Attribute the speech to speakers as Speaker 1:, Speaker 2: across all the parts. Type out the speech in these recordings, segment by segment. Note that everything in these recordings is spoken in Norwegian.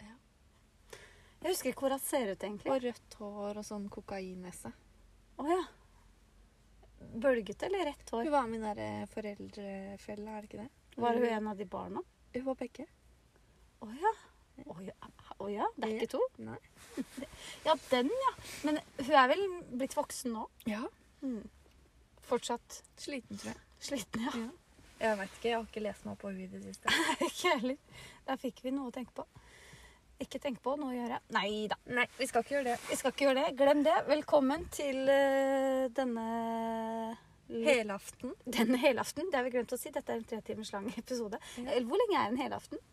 Speaker 1: Ja.
Speaker 2: Jeg husker ikke hvor hun ser ut, egentlig.
Speaker 1: Og rødt hår og sånn kokainnese.
Speaker 2: Å ja. Bølgete eller rett hår?
Speaker 1: Hun var med i den derre foreldrefella, er det ikke det?
Speaker 2: Var hun en av de barna?
Speaker 1: Hun var begge.
Speaker 2: Å ja. Å ja. Å ja. Det er
Speaker 1: Ja.
Speaker 2: ikke to?
Speaker 1: Nei.
Speaker 2: Ja, den, ja. Men hun er vel blitt voksen nå?
Speaker 1: Ja. Mm.
Speaker 2: Fortsatt
Speaker 1: Sliten, tror jeg.
Speaker 2: sliten, ja.
Speaker 1: Jeg veit ikke. Jeg har ikke lest meg opp på henne i det siste.
Speaker 2: Ikke jeg heller. Der fikk vi noe å tenke på. Ikke tenke på, noe å gjøre. Nei da.
Speaker 1: Nei, vi skal ikke gjøre det.
Speaker 2: Vi skal ikke gjøre det. Glem det. Velkommen til eh, denne l-
Speaker 1: Helaften.
Speaker 2: denne helaften. Det har vi glemt å si. Dette er en tre timers lang episode.
Speaker 1: Ja.
Speaker 2: Eller Hvor lenge er en helaften?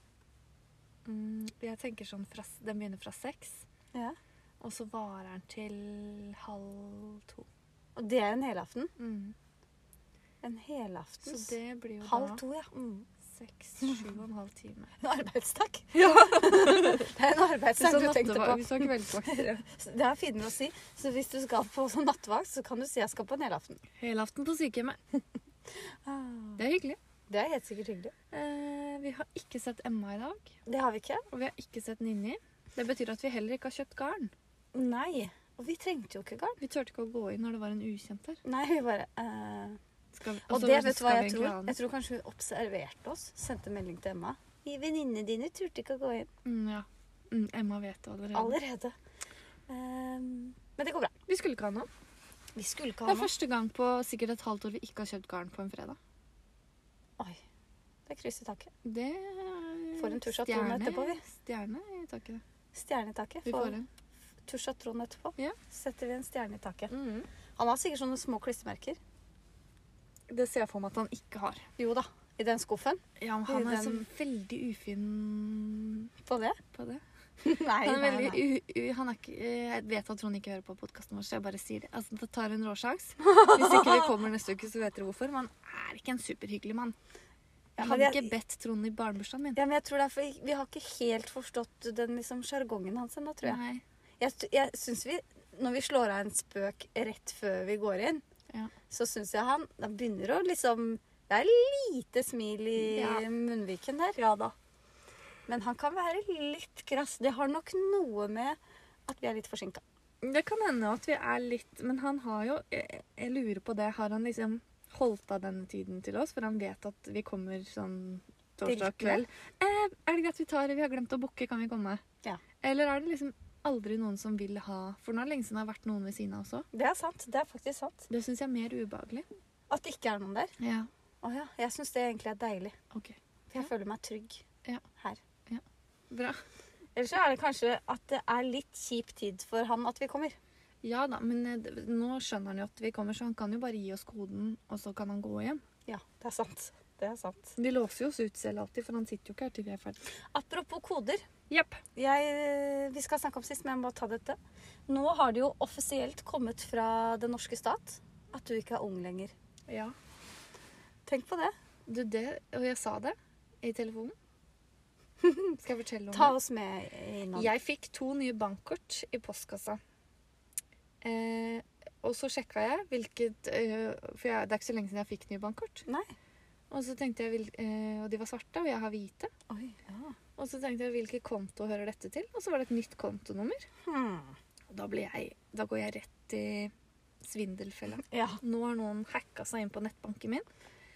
Speaker 1: Mm, jeg tenker sånn fra, Den begynner fra seks,
Speaker 2: Ja.
Speaker 1: og så varer den til halv to.
Speaker 2: Og det er en helaften.
Speaker 1: Mm.
Speaker 2: En helaften.
Speaker 1: Så det blir jo
Speaker 2: Halv
Speaker 1: da
Speaker 2: to, ja. Mm.
Speaker 1: seks, sju og en halv time.
Speaker 2: En arbeidsdag. Det er en arbeidsdag du tenkte på.
Speaker 1: Hvis du har kveldsvakter. ja.
Speaker 2: Det er finere å si. Så hvis du skal på sånn nattevakt, så kan du si 'jeg skal på en helaften'.
Speaker 1: Helaften på sykehjemmet. Det er hyggelig.
Speaker 2: Det er helt sikkert hyggelig.
Speaker 1: Eh, vi har ikke sett Emma i dag,
Speaker 2: Det har vi ikke.
Speaker 1: og vi har ikke sett Ninni. Det betyr at vi heller ikke har kjøpt garn.
Speaker 2: Nei. Og vi trengte jo ikke garn.
Speaker 1: Vi turte ikke å gå inn når det var en ukjent der.
Speaker 2: Nei, vi bare eh,
Speaker 1: Skal vi-
Speaker 2: Og
Speaker 1: så
Speaker 2: det
Speaker 1: var sånn,
Speaker 2: vet du hva
Speaker 1: skal vi
Speaker 2: jeg
Speaker 1: egentlig
Speaker 2: tror?
Speaker 1: ha den?
Speaker 2: Jeg tror kanskje hun observerte oss. Sendte melding til Emma. I Venninnene dine turte ikke å gå inn.
Speaker 1: Mm, ja. Mm, Emma vet det allerede.
Speaker 2: Allerede. Ehm, men det går bra.
Speaker 1: Vi skulle ikke ha noe.
Speaker 2: Vi skulle ikke ha
Speaker 1: Det er
Speaker 2: noe.
Speaker 1: første gang på sikkert et halvt år vi ikke har kjøpt garn på en fredag.
Speaker 2: Oi. Det krysser taket.
Speaker 1: Det er
Speaker 2: Får en tusj av Trond
Speaker 1: stjerne-
Speaker 2: etterpå, vi.
Speaker 1: Stjerne i taket.
Speaker 2: Stjerne i taket.
Speaker 1: Vi får en.
Speaker 2: tusj av Trond etterpå.
Speaker 1: Ja.
Speaker 2: Setter vi en stjerne i taket. Han har sikkert sånne små klistremerker.
Speaker 1: Det ser jeg for meg at han ikke har.
Speaker 2: Jo da. I den skuffen.
Speaker 1: Ja, men
Speaker 2: I
Speaker 1: han er så
Speaker 2: den-
Speaker 1: veldig ufin
Speaker 2: På det.
Speaker 1: på det.
Speaker 2: Nei,
Speaker 1: Han er
Speaker 2: nei,
Speaker 1: veldig
Speaker 2: nei.
Speaker 1: u... u han er ikke, jeg vet at Trond ikke hører på podkasten vår, så jeg bare sier det. Altså, det tar en råsjans. Hvis ikke vi kommer neste uke, så vet dere hvorfor. Men han er ikke en superhyggelig mann.
Speaker 2: Ja,
Speaker 1: Jeg
Speaker 2: men
Speaker 1: hadde
Speaker 2: jeg-
Speaker 1: ikke bedt Trond i barnebursdagen min.
Speaker 2: Ja, men jeg tror det er for vi har ikke helt forstått den liksom sjargongen hans ennå, tror jeg.
Speaker 1: Nei.
Speaker 2: Jeg, jeg syns vi, når vi slår av en spøk rett før vi går inn,
Speaker 1: Ja.
Speaker 2: så syns jeg han Da begynner å liksom Det er lite smil i
Speaker 1: Ja.
Speaker 2: munnviken der. Men han kan være litt krass. Det har nok noe med at vi er litt forsinka.
Speaker 1: Det kan hende at vi er litt Men han har jo Jeg, jeg lurer på det. Har han liksom holdt av denne tiden til oss? For han vet at vi kommer sånn torsdag
Speaker 2: Diltende.
Speaker 1: kveld. Eh, er det greit vi tar Vi har glemt å booke, kan vi komme?
Speaker 2: Ja.
Speaker 1: Eller er det liksom aldri noen som vil ha For nå er det lenge siden det har vært noen ved siden av også.
Speaker 2: Det er sant. Det er faktisk sant.
Speaker 1: Det syns jeg er mer ubehagelig.
Speaker 2: At det ikke er noen der.
Speaker 1: Ja.
Speaker 2: Å ja. Jeg syns det egentlig er deilig.
Speaker 1: Ok.
Speaker 2: For jeg føler meg trygg
Speaker 1: Ja.
Speaker 2: her.
Speaker 1: Bra.
Speaker 2: Ellers så er det kanskje at det er litt kjip tid for han at vi kommer.
Speaker 1: Ja da, men eh, d- nå skjønner han jo at vi kommer, så han kan jo bare gi oss koden, og så kan han gå hjem.
Speaker 2: Ja, det er sant. Det er sant.
Speaker 1: De låser jo oss ut selv alltid, for han sitter jo ikke her til vi er ferdige.
Speaker 2: Apropos koder.
Speaker 1: Jepp.
Speaker 2: Jeg, eh, vi skal snakke om sist, men jeg må ta dette. Nå har det jo offisielt kommet fra den norske stat at du ikke er ung lenger.
Speaker 1: Ja.
Speaker 2: Tenk på det.
Speaker 1: Du, det, og jeg sa det i telefonen. Skal jeg fortelle om
Speaker 2: Ta oss med innom.
Speaker 1: det? Jeg fikk to nye bankkort i postkassa. Eh, og så sjekka jeg hvilket eh, For jeg, det er ikke så lenge siden jeg fikk nye bankkort.
Speaker 2: Nei.
Speaker 1: Og så tenkte jeg, hvil- eh, og de var svarte, og jeg har hvite.
Speaker 2: Oi, ja.
Speaker 1: Og så tenkte jeg hvilken konto hører dette til? Og så var det et nytt kontonummer.
Speaker 2: Hmm.
Speaker 1: Og da, ble jeg, da går jeg rett i svindelfella.
Speaker 2: ja.
Speaker 1: Nå har noen hacka seg inn på nettbanken min.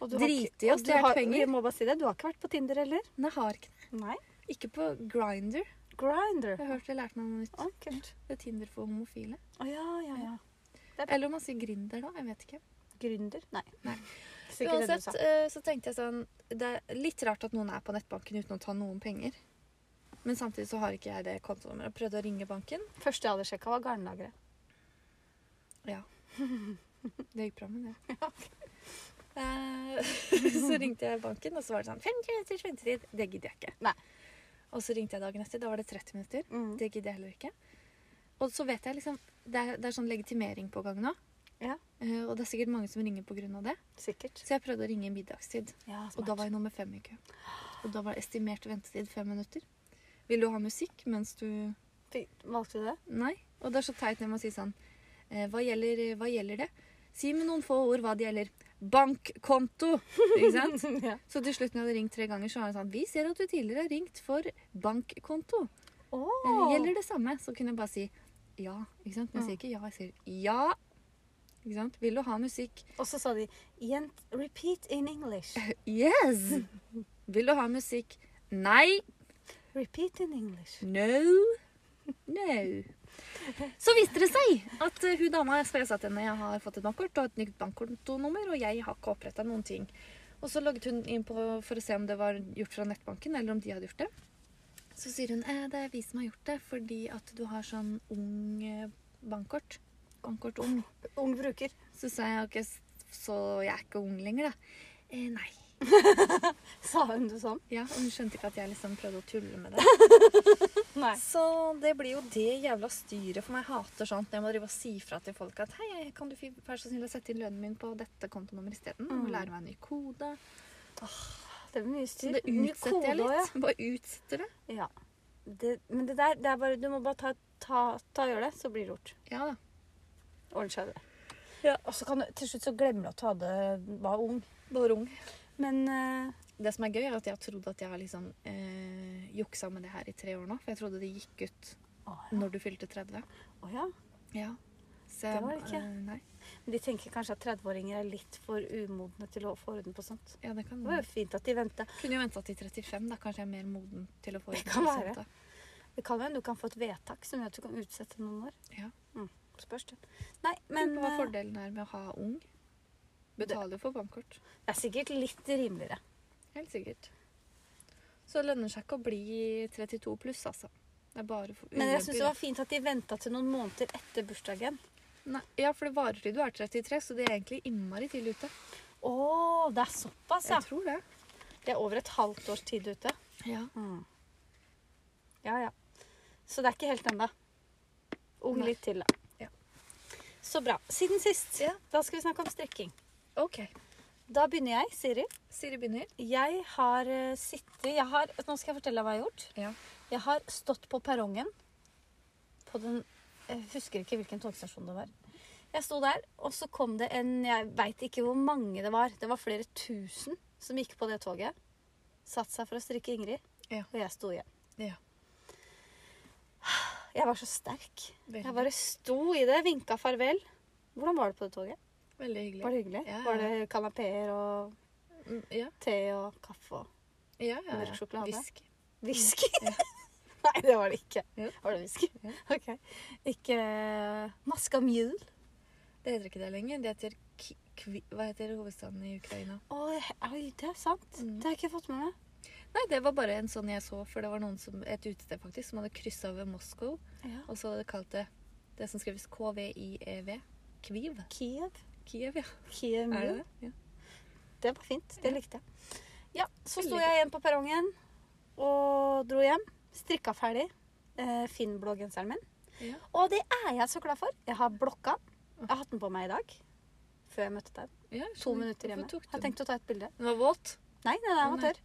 Speaker 2: Og
Speaker 1: Drit i
Speaker 2: ikke- og
Speaker 1: oss,
Speaker 2: du
Speaker 1: det er
Speaker 2: har-
Speaker 1: penger.
Speaker 2: Jeg må bare si det. Du har ikke vært på Tinder heller?
Speaker 1: Men jeg har ikke det.
Speaker 2: Nei.
Speaker 1: Ikke på Grinder.
Speaker 2: Grinder.
Speaker 1: Jeg har hørt jeg lærte meg noe nytt.
Speaker 2: Å, kult.
Speaker 1: Det er Tinder for homofile.
Speaker 2: Å ja, ja, ja.
Speaker 1: Eller om man sier Grinder, da. Jeg vet ikke.
Speaker 2: Gründer? Nei.
Speaker 1: Nei.
Speaker 2: Sikkert det du
Speaker 1: Uansett
Speaker 2: sa.
Speaker 1: eh, så tenkte jeg sånn Det er litt rart at noen er på nettbanken uten å ta noen penger. Men samtidig så har ikke jeg det kontonummeret. Jeg Prøvde å ringe banken.
Speaker 2: Første jeg hadde sjekka, var garnlageret.
Speaker 1: Ja. Det gikk bra med det. Eh, så ringte jeg banken, og så var det sånn 50 minutter ventetid. Det gidder jeg ikke.
Speaker 2: Nei.
Speaker 1: Og så ringte jeg dagen etter. Da var det 30 minutter.
Speaker 2: Mm.
Speaker 1: Det gidder jeg heller ikke. Og så vet jeg liksom Det er, det er sånn legitimering på gang nå.
Speaker 2: Ja.
Speaker 1: Eh, og det er sikkert mange som ringer pga. det.
Speaker 2: Sikkert.
Speaker 1: Så jeg prøvde å ringe i middagstid.
Speaker 2: Ja,
Speaker 1: Og da var jeg nummer fem i kø. Og da var estimert ventetid fem minutter. Vil du ha musikk mens du
Speaker 2: Valgte du det?
Speaker 1: Nei. Og det er så teit når man sier sånn eh, hva, gjelder, hva gjelder det? Si med noen få ord hva det gjelder. Bankkonto! Ikke sant?
Speaker 2: ja.
Speaker 1: Så til slutt når jeg hadde ringt tre ganger, så var hun sånn Vi ser at du tidligere har ringt for bankkonto. Eh, Gjelder det samme? Så kunne jeg bare si ja. ikke sant? Men jeg sier ikke ja, jeg sier ja. Ikke sant? Vil du ha musikk?
Speaker 2: Og så sa de Jent, repeat in English.
Speaker 1: Yes! Vil du ha musikk? Nei.
Speaker 2: Repeat in English.
Speaker 1: No. No. Så viste det seg at eh, hun dama for jeg sa til henne, jeg har fått et bankkort og et nytt bankkontonummer, og jeg har ikke oppretta noen ting. Og så logget hun inn på, for å se om det var gjort fra nettbanken, eller om de hadde gjort det. Så sier hun eh, det er vi som har gjort det, fordi at du har sånn ung eh, bankkort. Bankkort ung.
Speaker 2: Ung bruker.
Speaker 1: Så sa jeg ok, så jeg er ikke ung lenger, da. Eh, nei.
Speaker 2: Sa hun det sånn?
Speaker 1: Ja, og hun skjønte ikke at jeg liksom prøvde å tulle med det.
Speaker 2: Nei.
Speaker 1: Så det blir jo det jævla styret for meg. Jeg hater sånt når jeg må drive og si fra til folk at hei, kan du fi- være så snill å sette inn lønnen min på dette kontonummeret isteden? Og
Speaker 2: Mm.
Speaker 1: lære meg en ny kode.
Speaker 2: Det er mye
Speaker 1: Så
Speaker 2: styr.
Speaker 1: det
Speaker 2: Mye
Speaker 1: utsetter jeg
Speaker 2: kode også,
Speaker 1: litt. Bare utsetter det.
Speaker 2: Ja. ja. Det, men det der, det er bare Du må bare ta, ta, ta og gjøre det, så blir det gjort.
Speaker 1: Ja da.
Speaker 2: Ordner seg det.
Speaker 1: Ja.
Speaker 2: Og så kan du til slutt så glemme at du hadde, var ung.
Speaker 1: Bare ung.
Speaker 2: Men eh,
Speaker 1: Det som er gøy, er at jeg har trodd at jeg har liksom eh, juksa med det her i tre år nå. For jeg trodde det gikk ut
Speaker 2: Å ja.
Speaker 1: når du fylte 30.
Speaker 2: Å ja.
Speaker 1: Ja. Så,
Speaker 2: Det var det ikke.
Speaker 1: eh, Nei.
Speaker 2: Men de tenker kanskje at 30-åringer er litt for umodne til å få orden på sånt.
Speaker 1: Ja, det kan
Speaker 2: Det var jo fint at de venta.
Speaker 1: Kunne jo venta til 35, da. Kanskje jeg er mer moden til å få
Speaker 2: Det
Speaker 1: ut
Speaker 2: kan
Speaker 1: noe
Speaker 2: være.
Speaker 1: sånt, da.
Speaker 2: Det kan jo hende du kan få et vedtak som gjør at du kan utsette noen år.
Speaker 1: Ja.
Speaker 2: Mm, spørs det. Nei,
Speaker 1: Men
Speaker 2: men
Speaker 1: hva
Speaker 2: eh,
Speaker 1: fordelen er med å ha ung? Betaler jo for bankkort.
Speaker 2: det er sikkert litt rimeligere.
Speaker 1: Helt sikkert. Så det lønner seg ikke å bli 32 pluss, altså. Det er bare for
Speaker 2: Men jeg
Speaker 1: ulemper.
Speaker 2: syns det var fint at de venta til noen måneder etter bursdagen.
Speaker 1: Nei, Ja, for det varer til du er 33, så det er egentlig innmari tidlig ute.
Speaker 2: Å, det er såpass, ja.
Speaker 1: Jeg tror det.
Speaker 2: Det er over et halvt års tid ute.
Speaker 1: Ja.
Speaker 2: Ja, ja. Så det er ikke helt ennå. Ung
Speaker 1: Nei.
Speaker 2: litt til, da.
Speaker 1: Ja.
Speaker 2: Så bra. Siden sist.
Speaker 1: Ja.
Speaker 2: Da skal vi snakke om strekking.
Speaker 1: OK.
Speaker 2: Da begynner jeg, Siri.
Speaker 1: Siri begynner.
Speaker 2: Jeg har eh, sittet jeg har, Nå skal jeg fortelle deg hva jeg har gjort.
Speaker 1: Ja.
Speaker 2: Jeg har stått på perrongen på den Jeg husker ikke hvilken togstasjon det var. Jeg sto der, og så kom det en Jeg veit ikke hvor mange det var. Det var flere tusen som gikk på det toget. Satt seg for å strikke Ingrid,
Speaker 1: Ja.
Speaker 2: og jeg sto igjen.
Speaker 1: Ja.
Speaker 2: Jeg var så sterk.
Speaker 1: Veldig,
Speaker 2: Jeg bare sto i det, vinka farvel. Hvordan var det på det toget?
Speaker 1: veldig
Speaker 2: Var
Speaker 1: hyggelig.
Speaker 2: det hyggelig?
Speaker 1: Ja, ja.
Speaker 2: Var det kanapeer og
Speaker 1: Mm, Ja,
Speaker 2: te og kaffe og
Speaker 1: ja, ja.
Speaker 2: Mørk
Speaker 1: ja.
Speaker 2: sjokolade.
Speaker 1: Visk.
Speaker 2: Whisky? Nei, det var det ikke.
Speaker 1: Jo.
Speaker 2: Var det whisky?
Speaker 1: Ja.
Speaker 2: Ok. Ikke eh, maska mjøl?
Speaker 1: Det heter ikke det lenger. Det heter Ki- Kvi... Hva heter hovedstaden i Ukraina?
Speaker 2: Å, oi, det er sant.
Speaker 1: Mm.
Speaker 2: Det har jeg ikke fått med meg.
Speaker 1: Nei, det var bare en sånn jeg så, for det var noen som, et utested faktisk, som hadde kryssa over Moskva,
Speaker 2: Ja.
Speaker 1: og så hadde de kalt det det som skrives KVIEV. E Kviv.
Speaker 2: Kiev.
Speaker 1: Kiev, ja.
Speaker 2: Kiev
Speaker 1: Er det
Speaker 2: mjøl.
Speaker 1: det? Ja.
Speaker 2: Det var fint. Det likte jeg. Ja, så
Speaker 1: Veldig
Speaker 2: sto jeg igjen på perrongen og dro hjem. Strikka ferdig eh, Finn-blå genseren min.
Speaker 1: Ja.
Speaker 2: Og det er jeg så glad for. Jeg har blokka.
Speaker 1: Åh.
Speaker 2: Jeg har hatt den på meg i dag. Før jeg møtte deg.
Speaker 1: ja jeg
Speaker 2: To
Speaker 1: skjønner.
Speaker 2: minutter hjemme.
Speaker 1: Hvorfor tok
Speaker 2: Jeg
Speaker 1: du
Speaker 2: har tenkt å ta et bilde.
Speaker 1: den? Den var våt.
Speaker 2: Nei, den er
Speaker 1: Å, nei.
Speaker 2: amatør.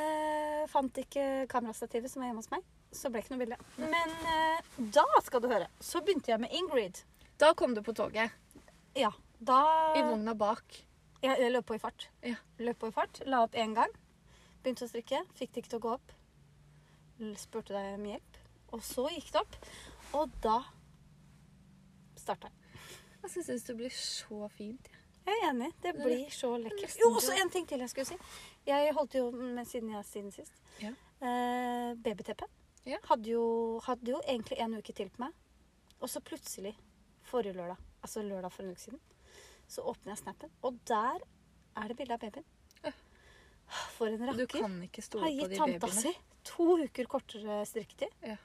Speaker 2: Eh, fant ikke kamerastativet som var hjemme hos meg. Så ble ikke noe bilde. Men eh, da skal du høre. Så begynte jeg med Ingrid.
Speaker 1: Da kom du på toget.
Speaker 2: Ja, da
Speaker 1: I vogna bak.
Speaker 2: Jeg, jeg løp på i fart.
Speaker 1: Ja.
Speaker 2: Løp på i fart, La opp én gang. Begynte å strikke. Fikk det ikke til å gå opp. L- Spurte deg om hjelp. Og så gikk det opp. Og da starta jeg.
Speaker 1: Altså, jeg syns du blir så fint. Ja.
Speaker 2: Jeg er enig. Det
Speaker 1: Det er
Speaker 2: blir så lekkert.
Speaker 1: nesten
Speaker 2: Jo, og så
Speaker 1: bra.
Speaker 2: en ting til jeg skulle si. Jeg holdt jo med siden jeg siden sist.
Speaker 1: Ja.
Speaker 2: Eh, Babyteppet.
Speaker 1: Ja.
Speaker 2: Hadde, jo, hadde jo egentlig en uke til på meg. Og så plutselig, forrige lørdag, altså lørdag for en uke siden, så åpner jeg snappen, og der er det bilde av babyen.
Speaker 1: Ja.
Speaker 2: For en
Speaker 1: Du
Speaker 2: rakker.
Speaker 1: kan ikke stole
Speaker 2: Har
Speaker 1: på
Speaker 2: gitt
Speaker 1: de
Speaker 2: tanta
Speaker 1: babyene.
Speaker 2: si to uker kortere strikketid.
Speaker 1: Ja.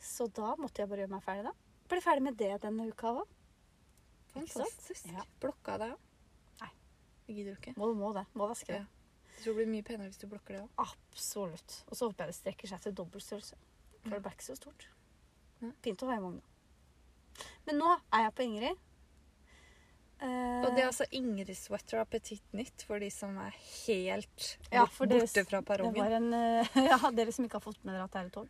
Speaker 2: Så da måtte jeg bare gjøre meg ferdig, da. Ble ferdig med det denne uka òg.
Speaker 1: Fantastisk.
Speaker 2: Ja.
Speaker 1: Blokka deg av.
Speaker 2: Nei.
Speaker 1: Det gidder du ikke.
Speaker 2: Må, må det. Må vaske det.
Speaker 1: Jeg tror det blir mye penere hvis du blokker det òg.
Speaker 2: Absolutt. Og så håper jeg det strekker seg til dobbeltstørrelse. For det ble ikke så stort.
Speaker 1: Nei.
Speaker 2: Fint å ha i vogna. Men nå er jeg på Ingrid. Eh,
Speaker 1: Og det er altså Ingrid Sweater Appetitt Nytt for de som er helt
Speaker 2: Ja,
Speaker 1: bort-
Speaker 2: for dere-
Speaker 1: borte fra
Speaker 2: det
Speaker 1: perrongen.
Speaker 2: var en, eh, ja, dere som ikke har fått med dere at det er et tog.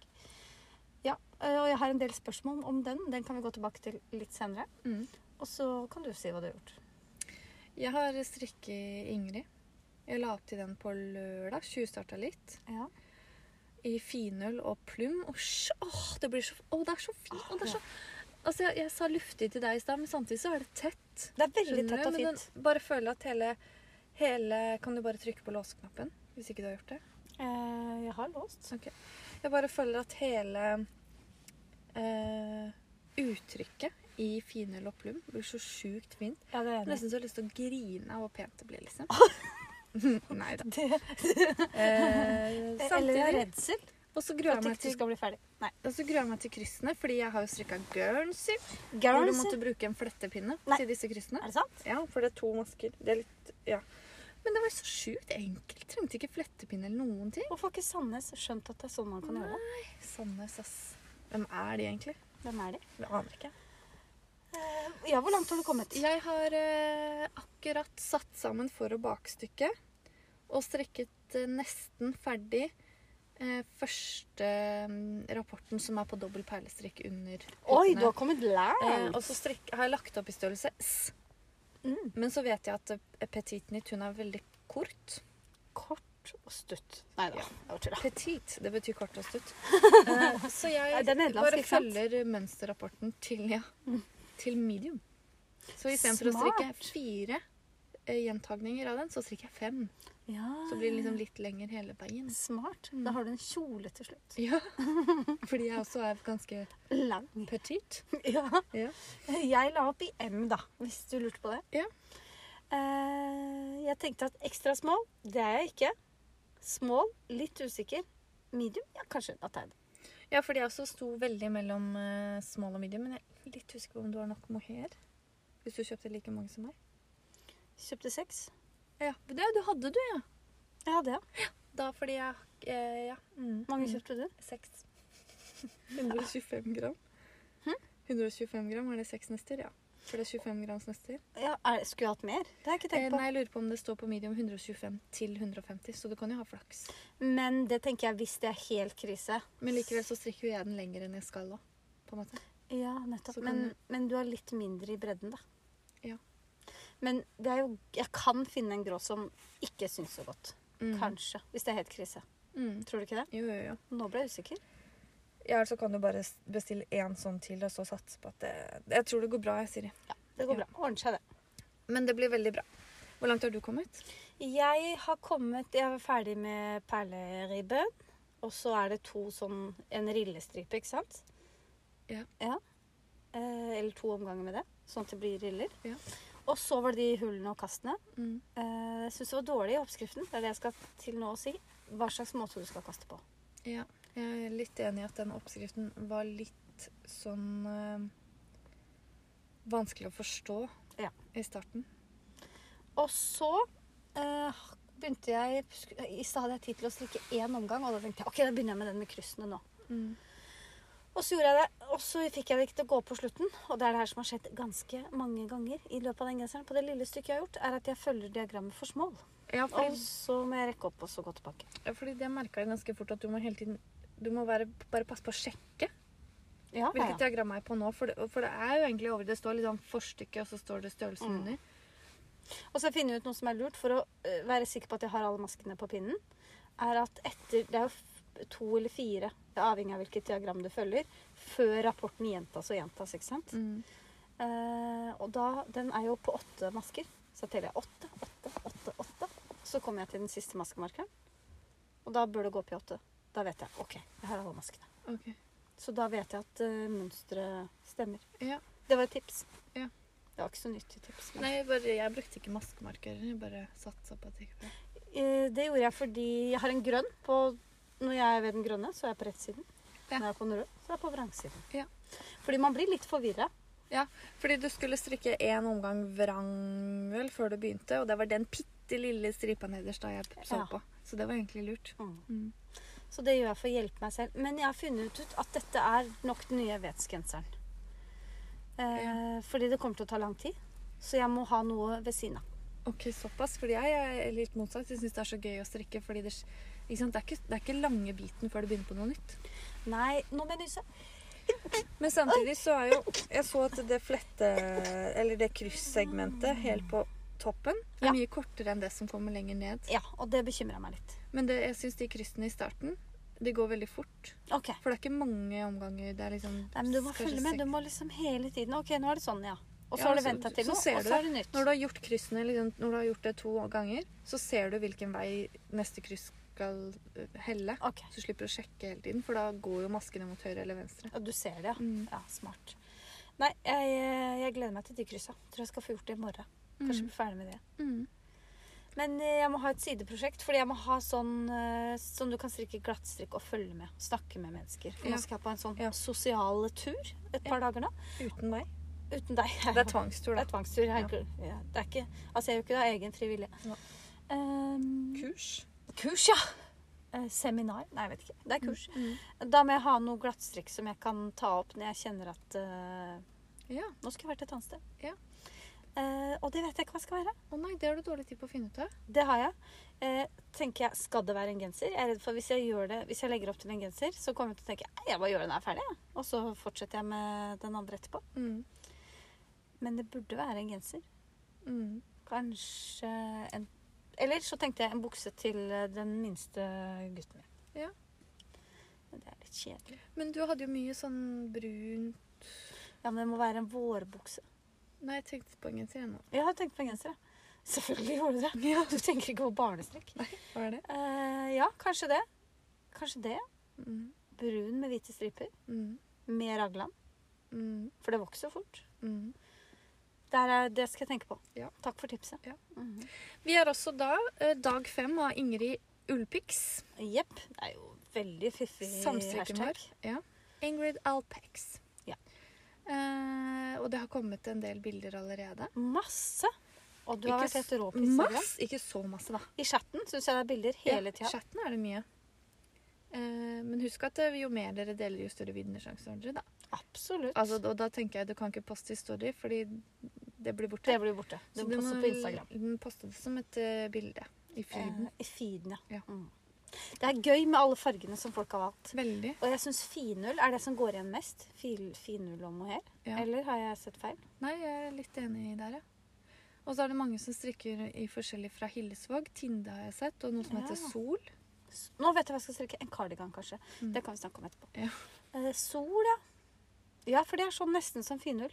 Speaker 2: Ja, eh, og jeg har en del spørsmål om den. Den kan vi gå tilbake til litt senere.
Speaker 1: Mm.
Speaker 2: Og så kan du si hva du har gjort.
Speaker 1: Jeg har strikket Ingrid. Jeg la opp til den på lørdag. Tjuvstarta litt.
Speaker 2: Ja.
Speaker 1: I finull og plum. Og sj- Åh, det blir så Åh, det er så fint! Åh, det er så Altså, jeg, jeg sa luftig til deg i stad, men samtidig så er det tett.
Speaker 2: Det er veldig tett
Speaker 1: Skjønner du?
Speaker 2: og
Speaker 1: Men den-
Speaker 2: fint.
Speaker 1: Bare føler at hele, hele Kan du bare trykke på låseknappen? Hvis ikke du har gjort det.
Speaker 2: Eh, jeg har låst.
Speaker 1: Ok. Jeg bare føler at hele eh, uttrykket i finull og plum blir så sjukt fint.
Speaker 2: Ja, det er jeg enig.
Speaker 1: Nesten så jeg har lyst til å grine av hvor pent det blir, liksom. Nei da.
Speaker 2: i. Det,
Speaker 1: Eh,
Speaker 2: eller jeg er
Speaker 1: samtidig.
Speaker 2: redsel
Speaker 1: Og så
Speaker 2: for
Speaker 1: gruer jeg
Speaker 2: at
Speaker 1: meg
Speaker 2: ikke du
Speaker 1: til,
Speaker 2: skal bli ferdig. Nei.
Speaker 1: og så gruer jeg meg til kryssene, fordi jeg har jo strikka Guernsey. Hvor du
Speaker 2: Guarantee.
Speaker 1: måtte bruke en flettepinne
Speaker 2: Nei.
Speaker 1: til disse kryssene.
Speaker 2: Er det sant?
Speaker 1: Ja, for det er to masker. Det er litt, ja. Men det var så sjukt enkelt. Trengte ikke flettepinne eller noen ting.
Speaker 2: Hvorfor har ikke Sandnes skjønt at det er sånn man kan gjøre det?
Speaker 1: Sandnes, ass. Hvem er de egentlig?
Speaker 2: Hvem er de?
Speaker 1: Jeg aner ikke.
Speaker 2: Ja, hvor langt har du kommet?
Speaker 1: Jeg har eh, akkurat satt sammen for og bakstykke, og strekket eh, nesten ferdig eh, første mm, rapporten som er på dobbel perlestrikk under
Speaker 2: Oi,
Speaker 1: putene.
Speaker 2: du har kommet
Speaker 1: Eh,
Speaker 2: langt!
Speaker 1: og så strekk, har jeg lagt opp i størrelse S.
Speaker 2: Mm.
Speaker 1: Men så vet jeg at eh, Petit Nytt, hun er veldig kort.
Speaker 2: Kort og stutt. Nei da,
Speaker 1: Ja.
Speaker 2: jeg var tulla.
Speaker 1: Petit, det betyr kort og stutt. Eh, så
Speaker 2: Ja,
Speaker 1: jeg
Speaker 2: det er nederlandsk,
Speaker 1: bare
Speaker 2: ikke sant?
Speaker 1: følger mønsterrapporten til, ja, til medium. Så istedenfor å
Speaker 2: Smart.
Speaker 1: strikke fire eh, gjentagninger av den, så strikker jeg fem.
Speaker 2: Ja.
Speaker 1: Så blir det liksom litt lenger hele veien.
Speaker 2: Smart. Da har du en kjole til slutt.
Speaker 1: Ja, fordi jeg også er ganske
Speaker 2: Lang.
Speaker 1: petit.
Speaker 2: Ja.
Speaker 1: Ja.
Speaker 2: Jeg la opp i M, da, hvis du lurte på det.
Speaker 1: Ja.
Speaker 2: Eh, jeg tenkte at ekstra small, det er jeg ikke. Small, litt usikker. Medium, ja, kanskje at det er det.
Speaker 1: Ja, fordi jeg også sto veldig mellom eh, small og medium, men jeg er litt usikker på om du har nok mohair. Hvis du kjøpte like mange som meg.
Speaker 2: Kjøpte seks.
Speaker 1: Ja, men det, du hadde du, ja.
Speaker 2: Ja, det, ja.
Speaker 1: Da fordi jeg eh, Ja. Mm.
Speaker 2: Mange kjøpte du?
Speaker 1: Seks. 125 gram. Hm? 125 gram, er det seks nøster? Ja. For det er 25 grams nøster.
Speaker 2: Ja, er, skulle jeg hatt mer? Det har jeg ikke
Speaker 1: Eh,
Speaker 2: tenkt på.
Speaker 1: nei, jeg lurer på om det står på medium 125 til 150, så du kan jo ha flaks.
Speaker 2: Men det tenker jeg hvis det er helt krise.
Speaker 1: Men likevel så strikker jo jeg den lenger enn jeg skal da, på en måte.
Speaker 2: Ja, nettopp.
Speaker 1: Så kan
Speaker 2: Men,
Speaker 1: du-
Speaker 2: men du er litt mindre i bredden, da.
Speaker 1: Ja.
Speaker 2: Men det er jo, jeg kan finne en grå som ikke syns så godt.
Speaker 1: Mm.
Speaker 2: Kanskje. Hvis det er helt krise.
Speaker 1: Mm.
Speaker 2: Tror du ikke det?
Speaker 1: Jo, jo, jo.
Speaker 2: Nå ble jeg usikker.
Speaker 1: Ja, eller så kan du bare s- bestille én sånn til, og så satse på at det Jeg tror det går bra, jeg, Siri.
Speaker 2: Det går bra. Ordner seg, det.
Speaker 1: Men det blir veldig bra. Hvor langt har du kommet?
Speaker 2: Jeg har kommet Jeg er ferdig med perleribben. Og så er det to sånn En rillestripe, ikke sant?
Speaker 1: Ja.
Speaker 2: Eh, eller to omganger med det, sånn at det blir riller.
Speaker 1: Ja.
Speaker 2: Og så var det de hullene og kastene.
Speaker 1: Mm.
Speaker 2: Eh, jeg syns det var dårlig i oppskriften. Det er det jeg skal til nå å si. Hva slags måte du skal kaste på.
Speaker 1: Ja. Jeg er litt enig i at den oppskriften var litt sånn eh, Vanskelig å forstå
Speaker 2: Ja.
Speaker 1: i starten.
Speaker 2: Og så eh, begynte jeg I stad hadde jeg tid til å strikke én omgang, og da tenkte jeg ok, da begynner jeg med den med kryssene nå.
Speaker 1: Mm.
Speaker 2: Og så gjorde jeg det, og så fikk jeg det ikke til å gå på slutten. Og det er det her som har skjedd ganske mange ganger i løpet av den genseren. På det lille stykket jeg har gjort, er at jeg følger diagrammet for smål.
Speaker 1: Ja,
Speaker 2: Og
Speaker 1: fordi,
Speaker 2: så må jeg rekke opp og så gå tilbake.
Speaker 1: ja, fordi det merka jeg ganske fort, at du må hele tiden Du må være, bare passe på å sjekke
Speaker 2: Ja, ja,
Speaker 1: hvilket
Speaker 2: ja.
Speaker 1: diagram er jeg på nå. For det, for det er jo egentlig over Det står litt sånn forstykke, og så står det størrelsen
Speaker 2: Mm.
Speaker 1: under.
Speaker 2: Og så har jeg funnet ut noe som er lurt for å eh, være sikker på at jeg har alle maskene på pinnen. Er at etter Det er jo f- to eller fire, avhengig av hvilket diagram du følger, før rapporten gjentas og gjentas, ikke sant?
Speaker 1: Mm.
Speaker 2: Eh, og da, den er jo på åtte masker. Så teller jeg åtte, åtte, åtte, åtte. Så kommer jeg til den siste maskemarkeren. Og da bør det gå opp i åtte. Da vet jeg OK, jeg har alle maskene.
Speaker 1: Ok.
Speaker 2: Så da vet jeg at uh, mønsteret stemmer.
Speaker 1: Ja.
Speaker 2: Det var et tips.
Speaker 1: Ja.
Speaker 2: Det var ikke så nyttig tips. men-
Speaker 1: Nei, jeg, bare, jeg brukte ikke maskemarkører. Jeg bare satsa på at det gikk bra.
Speaker 2: Eh, det gjorde jeg fordi jeg har en grønn på Når jeg er ved den grønne, så er jeg på rettsiden.
Speaker 1: Ja.
Speaker 2: Når jeg er på den røde, så er jeg på vrangsiden.
Speaker 1: Ja.
Speaker 2: Fordi man blir litt forvirra.
Speaker 1: Fordi du skulle strikke én omgang vrang vel før du begynte, og det var den bitte bitte lille stripa nederst da jeg så
Speaker 2: Ja.
Speaker 1: på. Så det var egentlig lurt. Mm.
Speaker 2: Så det gjør jeg for å hjelpe meg selv. Men jeg har funnet ut at dette er nok den nye vetsgenseren. Eh, Fordi det kommer til å ta lang tid. Så jeg må ha noe ved siden av.
Speaker 1: Ok, såpass. Fordi jeg er litt motsatt. Jeg syns det er så gøy å strikke. fordi det, ikke sant? Det, er ikke, det er ikke lange biten før du begynner på noe nytt.
Speaker 2: Nei, nå må jeg nyse.
Speaker 3: Men samtidig så er jo Jeg så at det flette Eller det kryssegmentet helt på toppen
Speaker 1: Det er
Speaker 2: Ja.
Speaker 1: mye kortere enn det som kommer lenger ned.
Speaker 2: Ja, og det bekymrer meg litt.
Speaker 1: Men det, jeg syns de kryssene i starten de går veldig fort.
Speaker 2: Ok.
Speaker 1: For det er ikke mange omganger. Det er liksom
Speaker 2: Nei, men du må
Speaker 1: kanskje
Speaker 2: følge med. Du
Speaker 1: seks-
Speaker 2: må liksom hele tiden Ok, nå er det sånn, ja. Og så
Speaker 1: Ja,
Speaker 2: har du
Speaker 1: så-
Speaker 2: venta til
Speaker 1: så
Speaker 2: noe,
Speaker 1: ser
Speaker 2: og
Speaker 1: du
Speaker 2: så er det nytt.
Speaker 1: Når du har gjort kryssene, liksom, når du har gjort det to ganger, så ser du hvilken vei neste kryss skal øh, helle.
Speaker 2: Ok.
Speaker 1: Så du slipper å sjekke hele tiden, for da går jo maskene mot høyre eller venstre.
Speaker 2: Ja, du ser det, ja.
Speaker 1: Mm.
Speaker 2: Ja, Smart. Nei, jeg, jeg gleder meg til de kryssa. Tror jeg skal få gjort det i morgen. Kanskje bli
Speaker 1: Mm.
Speaker 2: ferdig med det. Men eh, jeg må ha et sideprosjekt, fordi jeg må ha sånn eh, som du kan strikke glattstrikk og følge med. Snakke med mennesker. For
Speaker 1: Ja.
Speaker 2: Nå skal jeg på en sånn
Speaker 1: Ja.
Speaker 2: sosial tur et par dager nå.
Speaker 3: uten meg.
Speaker 2: Uten deg.
Speaker 1: Det er
Speaker 2: Det
Speaker 1: tvangstur, da.
Speaker 2: er tvangstur. Jeg,
Speaker 1: Ja.
Speaker 2: ja. det er ikke, altså, jeg gjør ikke det av egen frivillige.
Speaker 1: Ja.
Speaker 2: Ehm,
Speaker 3: Kurs.
Speaker 2: kurs, ja! Eh, Seminar? Nei, jeg vet ikke.
Speaker 1: Mm.
Speaker 2: Det er kurs. Da må jeg ha noe glattstrikk som jeg kan ta opp når jeg kjenner at eh,
Speaker 1: Ja.
Speaker 2: Nå skulle jeg vært et annet sted.
Speaker 1: Ja.
Speaker 2: Eh, og det vet jeg ikke hva skal være.
Speaker 1: Å nei, det har du dårlig tid på å finne ut av.
Speaker 2: Det har jeg. Eh, tenker jeg, Skal det være en genser? Jeg er redd for Hvis jeg gjør det, hvis jeg legger opp til en genser, så kommer jeg til å tenke «Nei, jeg bare gjør den her ferdig. jeg». Og så fortsetter jeg med den andre etterpå.
Speaker 1: Mm.
Speaker 2: Men det burde være en genser.
Speaker 1: Mm.
Speaker 2: Kanskje en Eller så tenkte jeg en bukse til eh, den minste gutten min.
Speaker 1: Ja.
Speaker 2: Men det er litt kjedelig.
Speaker 1: Men du hadde jo mye sånn brun
Speaker 2: Ja, men det må være en vårbukse.
Speaker 1: Nei, jeg tenkte på en genser ennå.
Speaker 2: Jeg har tenkt på en genser, ja. Selvfølgelig gjorde du det. Du tenker ikke på barnestrekk.
Speaker 1: Hva er det?
Speaker 2: Eh, ja, kanskje det. Kanskje det.
Speaker 1: Mm.
Speaker 2: Brun med hvite striper.
Speaker 1: Mm.
Speaker 2: Med raglan.
Speaker 1: Mm.
Speaker 2: For det vokser fort.
Speaker 1: Mm.
Speaker 2: Der er, det skal jeg tenke på.
Speaker 1: Ja.
Speaker 2: Takk for tipset.
Speaker 1: Ja.
Speaker 2: Mhm.
Speaker 1: Vi er også da eh, dag fem av Ingrid Ulpiks.
Speaker 2: Jepp. Det er jo veldig fiffig
Speaker 1: Samstrikken vår.
Speaker 2: hashtag.
Speaker 1: Ja. Ingrid Alpex.
Speaker 2: Ja.
Speaker 1: Eh, og det har kommet en del bilder allerede.
Speaker 2: Masse. Og du har vært
Speaker 1: Ikke
Speaker 2: helt rå på Instagram.
Speaker 1: Masse! Ikke så masse, da.
Speaker 2: I chatten syns jeg det er bilder hele
Speaker 1: Ja,
Speaker 2: tida.
Speaker 1: chatten er det mye. Eh, men husk at eh, jo mer dere deler, jo større vinnersjanse har dere. da.
Speaker 2: Absolutt.
Speaker 1: Altså, og da tenker jeg du kan ikke poste i story, fordi det blir borte.
Speaker 2: det blir borte. Du
Speaker 1: Så
Speaker 2: må poste
Speaker 1: må
Speaker 2: på Instagram.
Speaker 1: l- poste det som et eh, bilde i feeden.
Speaker 2: Eh, I feeden, ja.
Speaker 1: Ja.
Speaker 2: Mm. Det er gøy med alle fargene som folk har valgt.
Speaker 1: Veldig.
Speaker 2: Og jeg syns finull er det som går igjen mest. Fil- Finull og mohair.
Speaker 1: Ja.
Speaker 2: Eller har jeg sett feil?
Speaker 1: Nei, jeg er litt enig der, ja. Og så er det mange som strikker i forskjellig fra Hillesvåg. Tinde har jeg sett, og noe som
Speaker 2: Ja.
Speaker 1: heter Sol.
Speaker 2: S- Nå vet jeg hva jeg skal strikke. En kardigan, kanskje.
Speaker 1: Mm.
Speaker 2: Det kan vi snakke om etterpå.
Speaker 1: Ja.
Speaker 2: Eh, sol, ja. Ja, for det er sånn nesten som finull,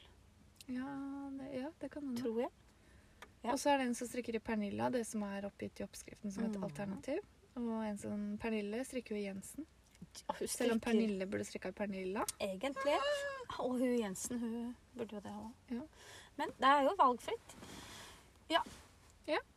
Speaker 1: Ja, det, ja, det kan hende.
Speaker 2: tror jeg. Ja.
Speaker 1: Og så er det en som strikker i Pernilla, det som er oppgitt i oppskriften som et
Speaker 2: Mhm.
Speaker 1: alternativ. Og en som Pernille strikker jo i Jensen.
Speaker 2: Og hun
Speaker 1: Selv om
Speaker 2: strikker
Speaker 1: Pernille burde strikka i Pernilla.
Speaker 2: egentlig. Og hun Jensen, hun burde jo det òg.
Speaker 1: Ja.
Speaker 2: Men det er jo valgfritt.
Speaker 1: Ja,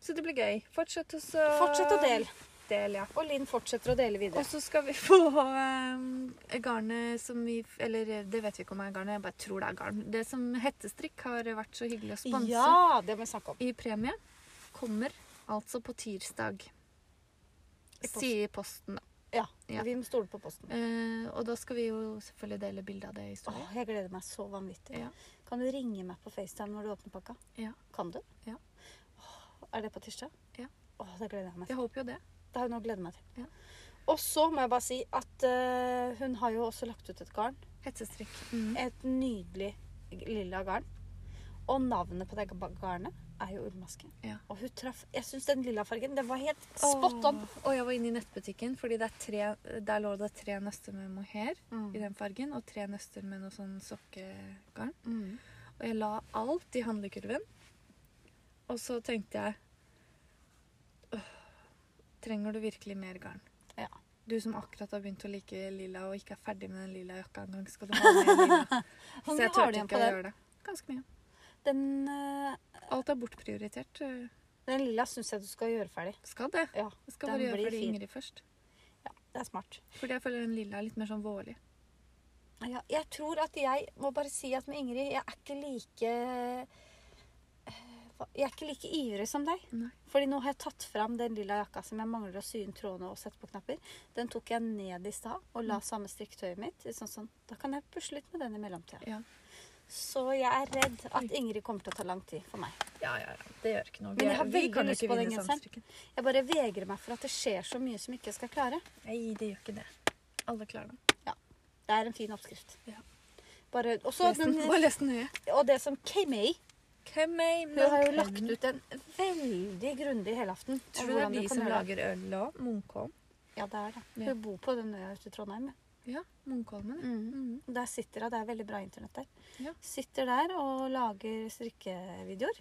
Speaker 1: Så det blir gøy. Fortsett å så
Speaker 2: Fortsett å dele.
Speaker 1: Del, ja.
Speaker 2: Og Linn fortsetter å dele videre.
Speaker 1: Og så skal vi få um, garnet som vi Eller eh, det vet vi ikke om er garnet, jeg bare tror det er garn. Det som hettestrikk har vært så hyggelig å sponse.
Speaker 2: Ja, det må vi snakke om.
Speaker 1: i premie kommer altså på tirsdag.
Speaker 2: I posten.
Speaker 1: Sier posten, da.
Speaker 2: Ja,
Speaker 1: Ja.
Speaker 2: Vi må stole på Posten.
Speaker 1: Eh, og da skal vi jo selvfølgelig dele bilde av det i
Speaker 2: Åh,
Speaker 1: story.
Speaker 2: jeg gleder meg så vanvittig.
Speaker 1: Ja.
Speaker 2: Kan du ringe meg på FaceTime når du åpner pakka?
Speaker 1: Ja.
Speaker 2: Kan du?
Speaker 1: Ja.
Speaker 2: Åh, Er det på tirsdag?
Speaker 1: Ja.
Speaker 2: Åh, det gleder jeg meg til.
Speaker 1: Jeg håper jo det.
Speaker 2: Det har jeg nå gledet meg til.
Speaker 1: Ja.
Speaker 2: Og så må jeg bare si at eh, hun har jo også lagt ut et garn.
Speaker 1: Hetsestrikk. Mm.
Speaker 2: Et nydelig lilla garn. Og navnet på det ga- garnet er jo ullmaske.
Speaker 1: Ja.
Speaker 2: Og hun traff Jeg syns den lilla fargen den var helt spot on.
Speaker 1: Åh, Og jeg var inne i nettbutikken, fordi det er tre, der lå det tre nøster med mohair i den fargen, og tre nøster med noe sånn sokkegarn.
Speaker 2: Mm.
Speaker 1: Og jeg la alt i handlekurven. Og så tenkte jeg «Åh, Trenger du virkelig mer garn?
Speaker 2: Ja.
Speaker 1: Du som akkurat har begynt å like lilla og ikke er ferdig med den lilla jakka engang, skal du ha mer lilla?
Speaker 2: Hvor
Speaker 1: Så
Speaker 2: mye har
Speaker 1: jeg
Speaker 2: du
Speaker 1: turte
Speaker 2: igjen
Speaker 1: ikke
Speaker 2: på
Speaker 1: å
Speaker 2: den?
Speaker 1: gjøre det. Ganske mye.
Speaker 2: Den, eh,
Speaker 1: Alt er bortprioritert. øh,
Speaker 2: den lilla syns jeg du skal gjøre ferdig.
Speaker 1: Skal det.
Speaker 2: Ja,
Speaker 1: Jeg skal
Speaker 2: Den
Speaker 1: bare
Speaker 2: blir
Speaker 1: gjøre ferdig
Speaker 2: fin.
Speaker 1: Ingrid først.
Speaker 2: det er smart.
Speaker 1: Fordi jeg føler den lilla er litt mer sånn vårlig.
Speaker 2: Ja, jeg tror at jeg må bare si at med Ingrid, jeg er ikke like eh, Jeg er ikke like ivrig som deg.
Speaker 1: Nei.
Speaker 2: Fordi nå har jeg tatt fram den lilla jakka som jeg mangler å sy inn trådene og sette på knapper. Den tok jeg ned i stad og
Speaker 1: Mm.
Speaker 2: la samme strikketøyet mitt. Sånn, sånn. Da kan jeg pusle litt med den i mellomtida.
Speaker 1: Ja.
Speaker 2: Så jeg er redd at Ingrid kommer til å ta lang tid for meg.
Speaker 1: Ja, ja, ja. Det gjør ikke noe.
Speaker 2: Men jeg har
Speaker 1: Vi
Speaker 2: veldig
Speaker 1: kan jo
Speaker 2: lyst
Speaker 1: ikke
Speaker 2: på den
Speaker 1: vinne sånn
Speaker 2: genseren.
Speaker 1: samstrikken.
Speaker 2: Jeg bare vegrer meg for at det skjer så mye som ikke jeg skal klare.
Speaker 1: Nei, det gjør ikke det. Alle klarer det.
Speaker 2: Det er en fin oppskrift.
Speaker 1: Ja.
Speaker 2: Bare, og, så den,
Speaker 1: Bare les den nøye.
Speaker 2: og det som Kay Hun har jo lagt
Speaker 1: ut
Speaker 2: ut en veldig grundig helaften. om
Speaker 1: Tror du det
Speaker 2: hvordan
Speaker 1: er
Speaker 2: kan
Speaker 1: de som
Speaker 2: gjøre det.
Speaker 1: lager øl òg? Munkholm?
Speaker 2: Ja, det er det.
Speaker 1: Ja.
Speaker 2: Hun bor på den øya ute i Trondheim. ja.
Speaker 1: Ja, Munkholmen. ja. Mhm.
Speaker 2: Der sitter hun. Det er veldig bra internett der.
Speaker 1: Ja.
Speaker 2: Sitter der og lager strikkevideoer.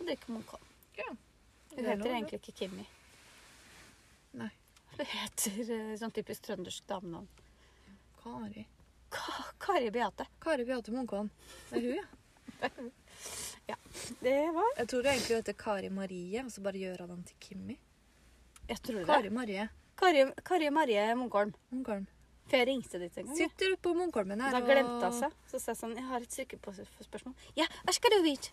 Speaker 2: Og drikker Monkholm.
Speaker 1: Ja.
Speaker 2: Hun
Speaker 1: Det er
Speaker 2: heter
Speaker 1: lov,
Speaker 2: egentlig ikke Kimmi.
Speaker 1: Nei.
Speaker 2: Hun heter eh, sånn typisk trøndersk damenavn.
Speaker 1: Kari.
Speaker 2: Ka Kari Beate.
Speaker 1: Kari Beate Munkholm. Det er hun, ja.
Speaker 2: Det var
Speaker 1: Jeg tror egentlig hun heter Kari Marie, og så bare gjør hun den til Kimmi.
Speaker 2: Jeg tror det.
Speaker 1: Kari Marie
Speaker 2: Kari, Kari Marie Munkholm.
Speaker 1: Munkholm.
Speaker 2: For jeg ringte dit en gang. jeg.
Speaker 1: Sitter på Munkholmen her
Speaker 2: Da glemte hun seg. Så sa jeg sånn Jeg har et strikkespørsmål. Ja, hva skal du vite?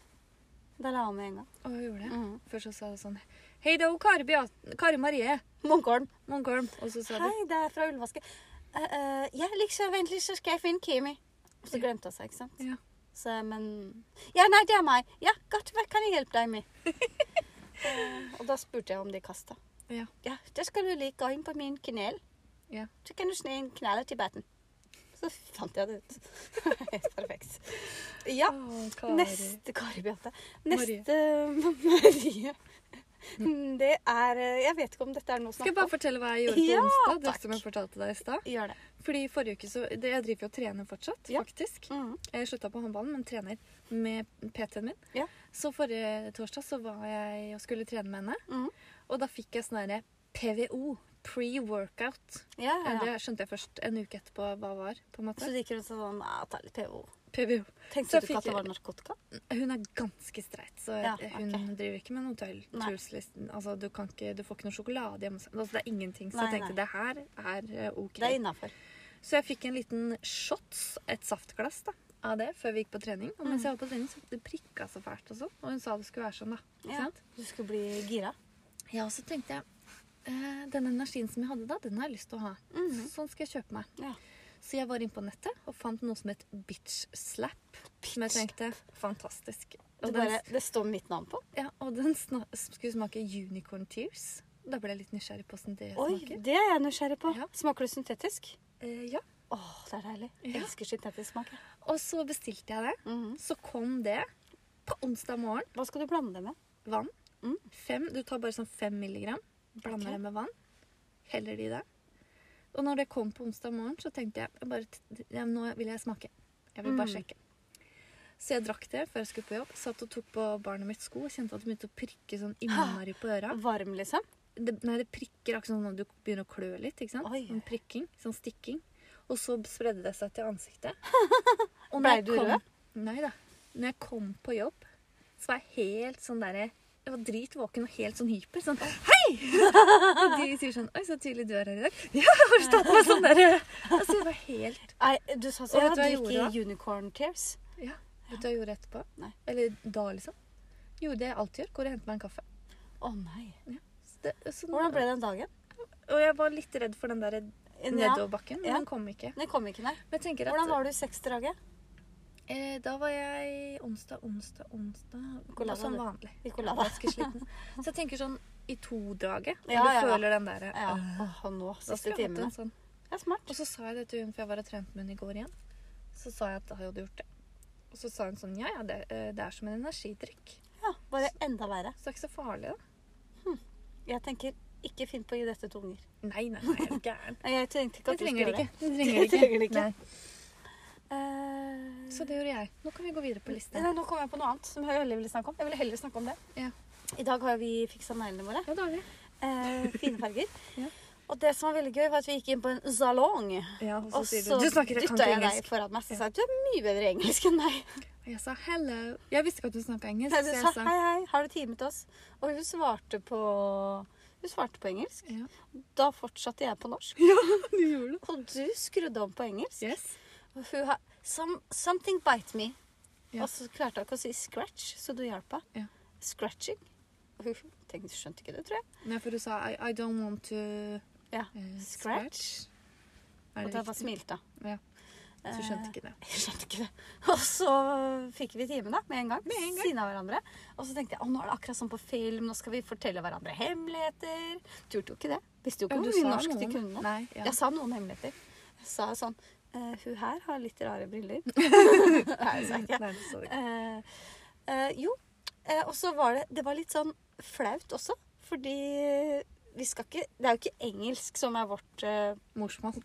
Speaker 2: Da la hun med en gang.
Speaker 1: Og hun gjorde det.
Speaker 2: Mm.
Speaker 1: Først så sa hun sånn Hei da, Kari, Beate, Kari Marie
Speaker 2: Munkholm.
Speaker 1: Munkholm. Og så sa de
Speaker 2: Hei, det er fra Ulvaske. Eh, eh, ja, liksom, vent litt, så skal jeg finne Kimi. Og så glemte hun seg, ikke sant?
Speaker 1: Ja.
Speaker 2: Så, men Ja, nei, det er meg. Ja, godt, hva kan jeg hjelpe deg med? Eh, og da spurte jeg om de kasta.
Speaker 1: Ja.
Speaker 2: Ja, da skal du like gå inn på min knel.
Speaker 1: Ja.
Speaker 2: Så kan du sne inn knallet til batten. Så fant jeg det ut. Helt perfekt. Ja.
Speaker 1: Å, Kari.
Speaker 2: Neste Kari Beate.
Speaker 1: Marie.
Speaker 2: Neste Marie. Det er eh, Jeg vet ikke om dette er noe å
Speaker 1: Skal jeg
Speaker 2: snakke
Speaker 1: bare
Speaker 2: om.
Speaker 1: fortelle hva jeg gjorde på
Speaker 2: Ja,
Speaker 1: onsdag? Det
Speaker 2: takk.
Speaker 1: som jeg fortalte deg i stad.
Speaker 2: Gjør det.
Speaker 1: Fordi forrige uke så det, Jeg driver jo og trener fortsatt,
Speaker 2: Ja.
Speaker 1: faktisk.
Speaker 2: Mm.
Speaker 1: Jeg slutta på håndballen, men trener med PT-en min.
Speaker 2: Ja.
Speaker 1: Så forrige torsdag så var jeg og skulle trene med henne.
Speaker 2: Mhm.
Speaker 1: Og da fikk jeg sånn derre PVO. Pre-workout.
Speaker 2: Ja, ja, ja.
Speaker 1: Det skjønte jeg først en uke etterpå hva var. på
Speaker 2: Så
Speaker 1: en måte.
Speaker 2: du gikk rundt og sa sånn «Ah, Ta litt PO.
Speaker 1: PVO.
Speaker 2: Tenkte
Speaker 1: Så
Speaker 2: du
Speaker 1: fikk
Speaker 2: ikke at det
Speaker 1: jeg-
Speaker 2: var narkotika?
Speaker 1: Hun er ganske streit, så
Speaker 2: Ja,
Speaker 1: hun
Speaker 2: ok.
Speaker 1: driver ikke med noe tøll.
Speaker 2: Nei.
Speaker 1: Truslisten. Altså, du, kan ikke, du får ikke noe sjokolade hjemme hos altså, Det er ingenting. Så
Speaker 2: Nei,
Speaker 1: jeg
Speaker 2: nei.
Speaker 1: tenkte det her er eh, OK.
Speaker 2: Det er innafor.
Speaker 1: Så jeg fikk en liten shots, et saftglass, da, av det før vi gikk på trening. Og
Speaker 2: Mm.
Speaker 1: mens jeg var på trening, så det prikka så fælt og sånn. Og hun sa det skulle være sånn, da. Ikke
Speaker 2: Ja.
Speaker 1: sant?
Speaker 2: Du skulle bli gira.
Speaker 1: Ja, og så tenkte jeg eh, den energien som jeg hadde da, den har jeg lyst til å ha.
Speaker 2: Mhm.
Speaker 1: Sånn skal jeg kjøpe meg.
Speaker 2: Ja.
Speaker 1: Så jeg var inne på nettet og fant noe som het bitch slap. Som jeg tenkte fantastisk.
Speaker 2: Du
Speaker 1: Og den,
Speaker 2: bare, det står mitt navn på.
Speaker 1: ja, og den sna- skulle smake unicorn tears. Da ble jeg litt nysgjerrig på hvordan det
Speaker 2: Oi,
Speaker 1: smaker.
Speaker 2: det er jeg nysgjerrig på.
Speaker 1: Ja.
Speaker 2: Smaker det syntetisk?
Speaker 1: Eh, ja.
Speaker 2: Å, det er deilig. Jeg
Speaker 1: Ja.
Speaker 2: elsker syntetisk smak. jeg.
Speaker 1: Og så bestilte jeg det.
Speaker 2: Mhm.
Speaker 1: Så kom det på onsdag morgen.
Speaker 2: Hva skal du blande det med?
Speaker 1: vann.
Speaker 2: Mm.
Speaker 1: Fem, du tar bare sånn fem milligram, blander
Speaker 2: Ok.
Speaker 1: det med vann, heller det i det. Og når det kom på onsdag morgen, så tenkte jeg, jeg bare, t- ja, nå vil jeg smake. Jeg vil bare
Speaker 2: Mm.
Speaker 1: sjekke. Så jeg drakk det før jeg skulle på jobb. Satt og tok på barnet mitt sko og kjente at det begynte å prikke sånn innmari på øra.
Speaker 2: Varm, liksom?
Speaker 1: Det, nei, det prikker akkurat sånn når du begynner å klø litt. ikke sant?
Speaker 2: Oi.
Speaker 1: Sånn prikking, sånn stikking. Og så spredde det seg til ansiktet.
Speaker 2: Blei
Speaker 1: Og når jeg
Speaker 2: du
Speaker 1: kom-
Speaker 2: rød?
Speaker 1: Nei da. Når jeg kom på jobb, så var jeg helt sånn derre Jeg var dritvåken og helt sånn hyper. Sånn Hei! Og de sier sånn Oi, så tidlig du er her i dag. Ja, har du tatt meg sånn derre Altså, jeg var helt
Speaker 2: Nei, du sa
Speaker 1: Og
Speaker 2: sånn
Speaker 1: vet
Speaker 2: at
Speaker 1: du hva jeg
Speaker 2: du gikk
Speaker 1: gjorde
Speaker 2: i unicorn tears.
Speaker 1: Ja. Vet du hva jeg gjorde etterpå?
Speaker 2: Nei.
Speaker 1: Eller da, liksom. Gjorde det jeg alltid gjør. Går og henter meg en kaffe.
Speaker 2: Å nei.
Speaker 1: Så det, så, sånn-
Speaker 2: Hvordan ble den dagen?
Speaker 1: Og jeg var litt redd for den derre nedoverbakken, men
Speaker 2: Ja.
Speaker 1: den kom ikke.
Speaker 2: Den kom ikke, nei.
Speaker 1: Men jeg tenker at
Speaker 2: Hvordan var du i sexdraget?
Speaker 1: Eh, da var jeg onsdag, onsdag, onsdag
Speaker 2: Hvor
Speaker 1: og
Speaker 2: lava
Speaker 1: Som
Speaker 2: du?
Speaker 1: vanlig.
Speaker 2: I
Speaker 1: Jeg var
Speaker 2: kolada?
Speaker 1: ganske sliten. Så jeg tenker sånn i to-draget. Når
Speaker 2: Ja,
Speaker 1: du
Speaker 2: ja, ja.
Speaker 1: føler den der
Speaker 2: Ja.
Speaker 1: øh,
Speaker 2: Åh, nå,
Speaker 1: da
Speaker 2: siste
Speaker 1: skulle jeg hatt
Speaker 2: timene.
Speaker 1: en sånn.
Speaker 2: Det er smart.
Speaker 1: Og så sa jeg det til hun, for jeg var og trente med hun i går igjen. Så sa jeg at jeg hadde gjort det. Og så sa hun sånn Ja, ja, det, øh, det er som en energidrikk.
Speaker 2: Ja, bare enda verre.
Speaker 1: Så det er ikke så farlig, da.
Speaker 2: Jeg tenker ikke finn på å gi dette til unger.
Speaker 1: Nei, nei, nei, er du gæren.
Speaker 2: Nei, Jeg tenkte ikke
Speaker 1: Det
Speaker 2: at du
Speaker 1: trenger
Speaker 2: skulle gjøre
Speaker 1: det
Speaker 2: det.
Speaker 1: ikke. Det trenger det
Speaker 2: trenger det ikke.
Speaker 1: ikke. Nei.
Speaker 2: Eh,
Speaker 1: Så det gjorde jeg. Nå kan vi gå videre på lista.
Speaker 2: Nei, nå kom jeg på noe annet som jeg heller ville snakke om. Jeg ville heller snakke om det.
Speaker 1: Ja.
Speaker 2: I dag har vi fiksa neglene våre.
Speaker 1: Ja, dårlig.
Speaker 2: Eh, fine farger.
Speaker 1: Ja.
Speaker 2: Og det som var veldig gøy, var at vi gikk inn på en salong.
Speaker 1: Ja, og så
Speaker 2: Og
Speaker 1: sier
Speaker 2: så
Speaker 1: du Du snakker jeg kan
Speaker 2: dytta
Speaker 1: ikke
Speaker 2: jeg deg
Speaker 1: engelsk.
Speaker 2: foran meg og sa at du er mye bedre i engelsk enn meg.
Speaker 1: Og jeg sa hello. Jeg visste ikke at du snakka engelsk.
Speaker 2: Nei, du
Speaker 1: så jeg
Speaker 2: sa hei, hei, har du time til oss? Og hun svarte på Hun svarte på engelsk.
Speaker 1: Ja.
Speaker 2: Da fortsatte jeg på norsk.
Speaker 1: Du gjorde det.
Speaker 2: Og du skrudde om på engelsk.
Speaker 1: Yes.
Speaker 2: Og hun har Some, 'Something bite me'.
Speaker 1: Ja.
Speaker 2: Og så klarte hun ikke å si 'scratch', så du hjalp henne.
Speaker 1: Ja.
Speaker 2: Scratching. Og hun tenkte, skjønte ikke det, tror jeg.
Speaker 1: Nei, for du sa I, I don't want to
Speaker 2: Ja.
Speaker 1: eh,
Speaker 2: Scratch.
Speaker 1: Er
Speaker 2: Og
Speaker 1: det
Speaker 2: da bare
Speaker 1: riktig?
Speaker 2: smilte hun.
Speaker 1: Ja. Så du skjønte
Speaker 2: Eh,
Speaker 1: ikke det.
Speaker 2: Jeg skjønte ikke det. Og så fikk vi time da, med en gang. Med en gang. Siden av hverandre. Og så tenkte jeg å, nå er det akkurat som på film, nå skal vi fortelle hverandre hemmeligheter. Turte jo ikke det. Visste jo ikke hvor mye norsk de kunne.
Speaker 1: Nei, ja.
Speaker 2: Jeg sa noen hemmeligheter. Jeg sa sånn eh, Hun her har litt rare briller. Nei, det sa jeg ikke.
Speaker 1: Nei, det sa du ikke.
Speaker 2: Eh, eh, jo. Eh, og så var det Det var litt sånn flaut også, fordi vi skal ikke Det er jo ikke engelsk som er vårt eh,
Speaker 1: Morsmål.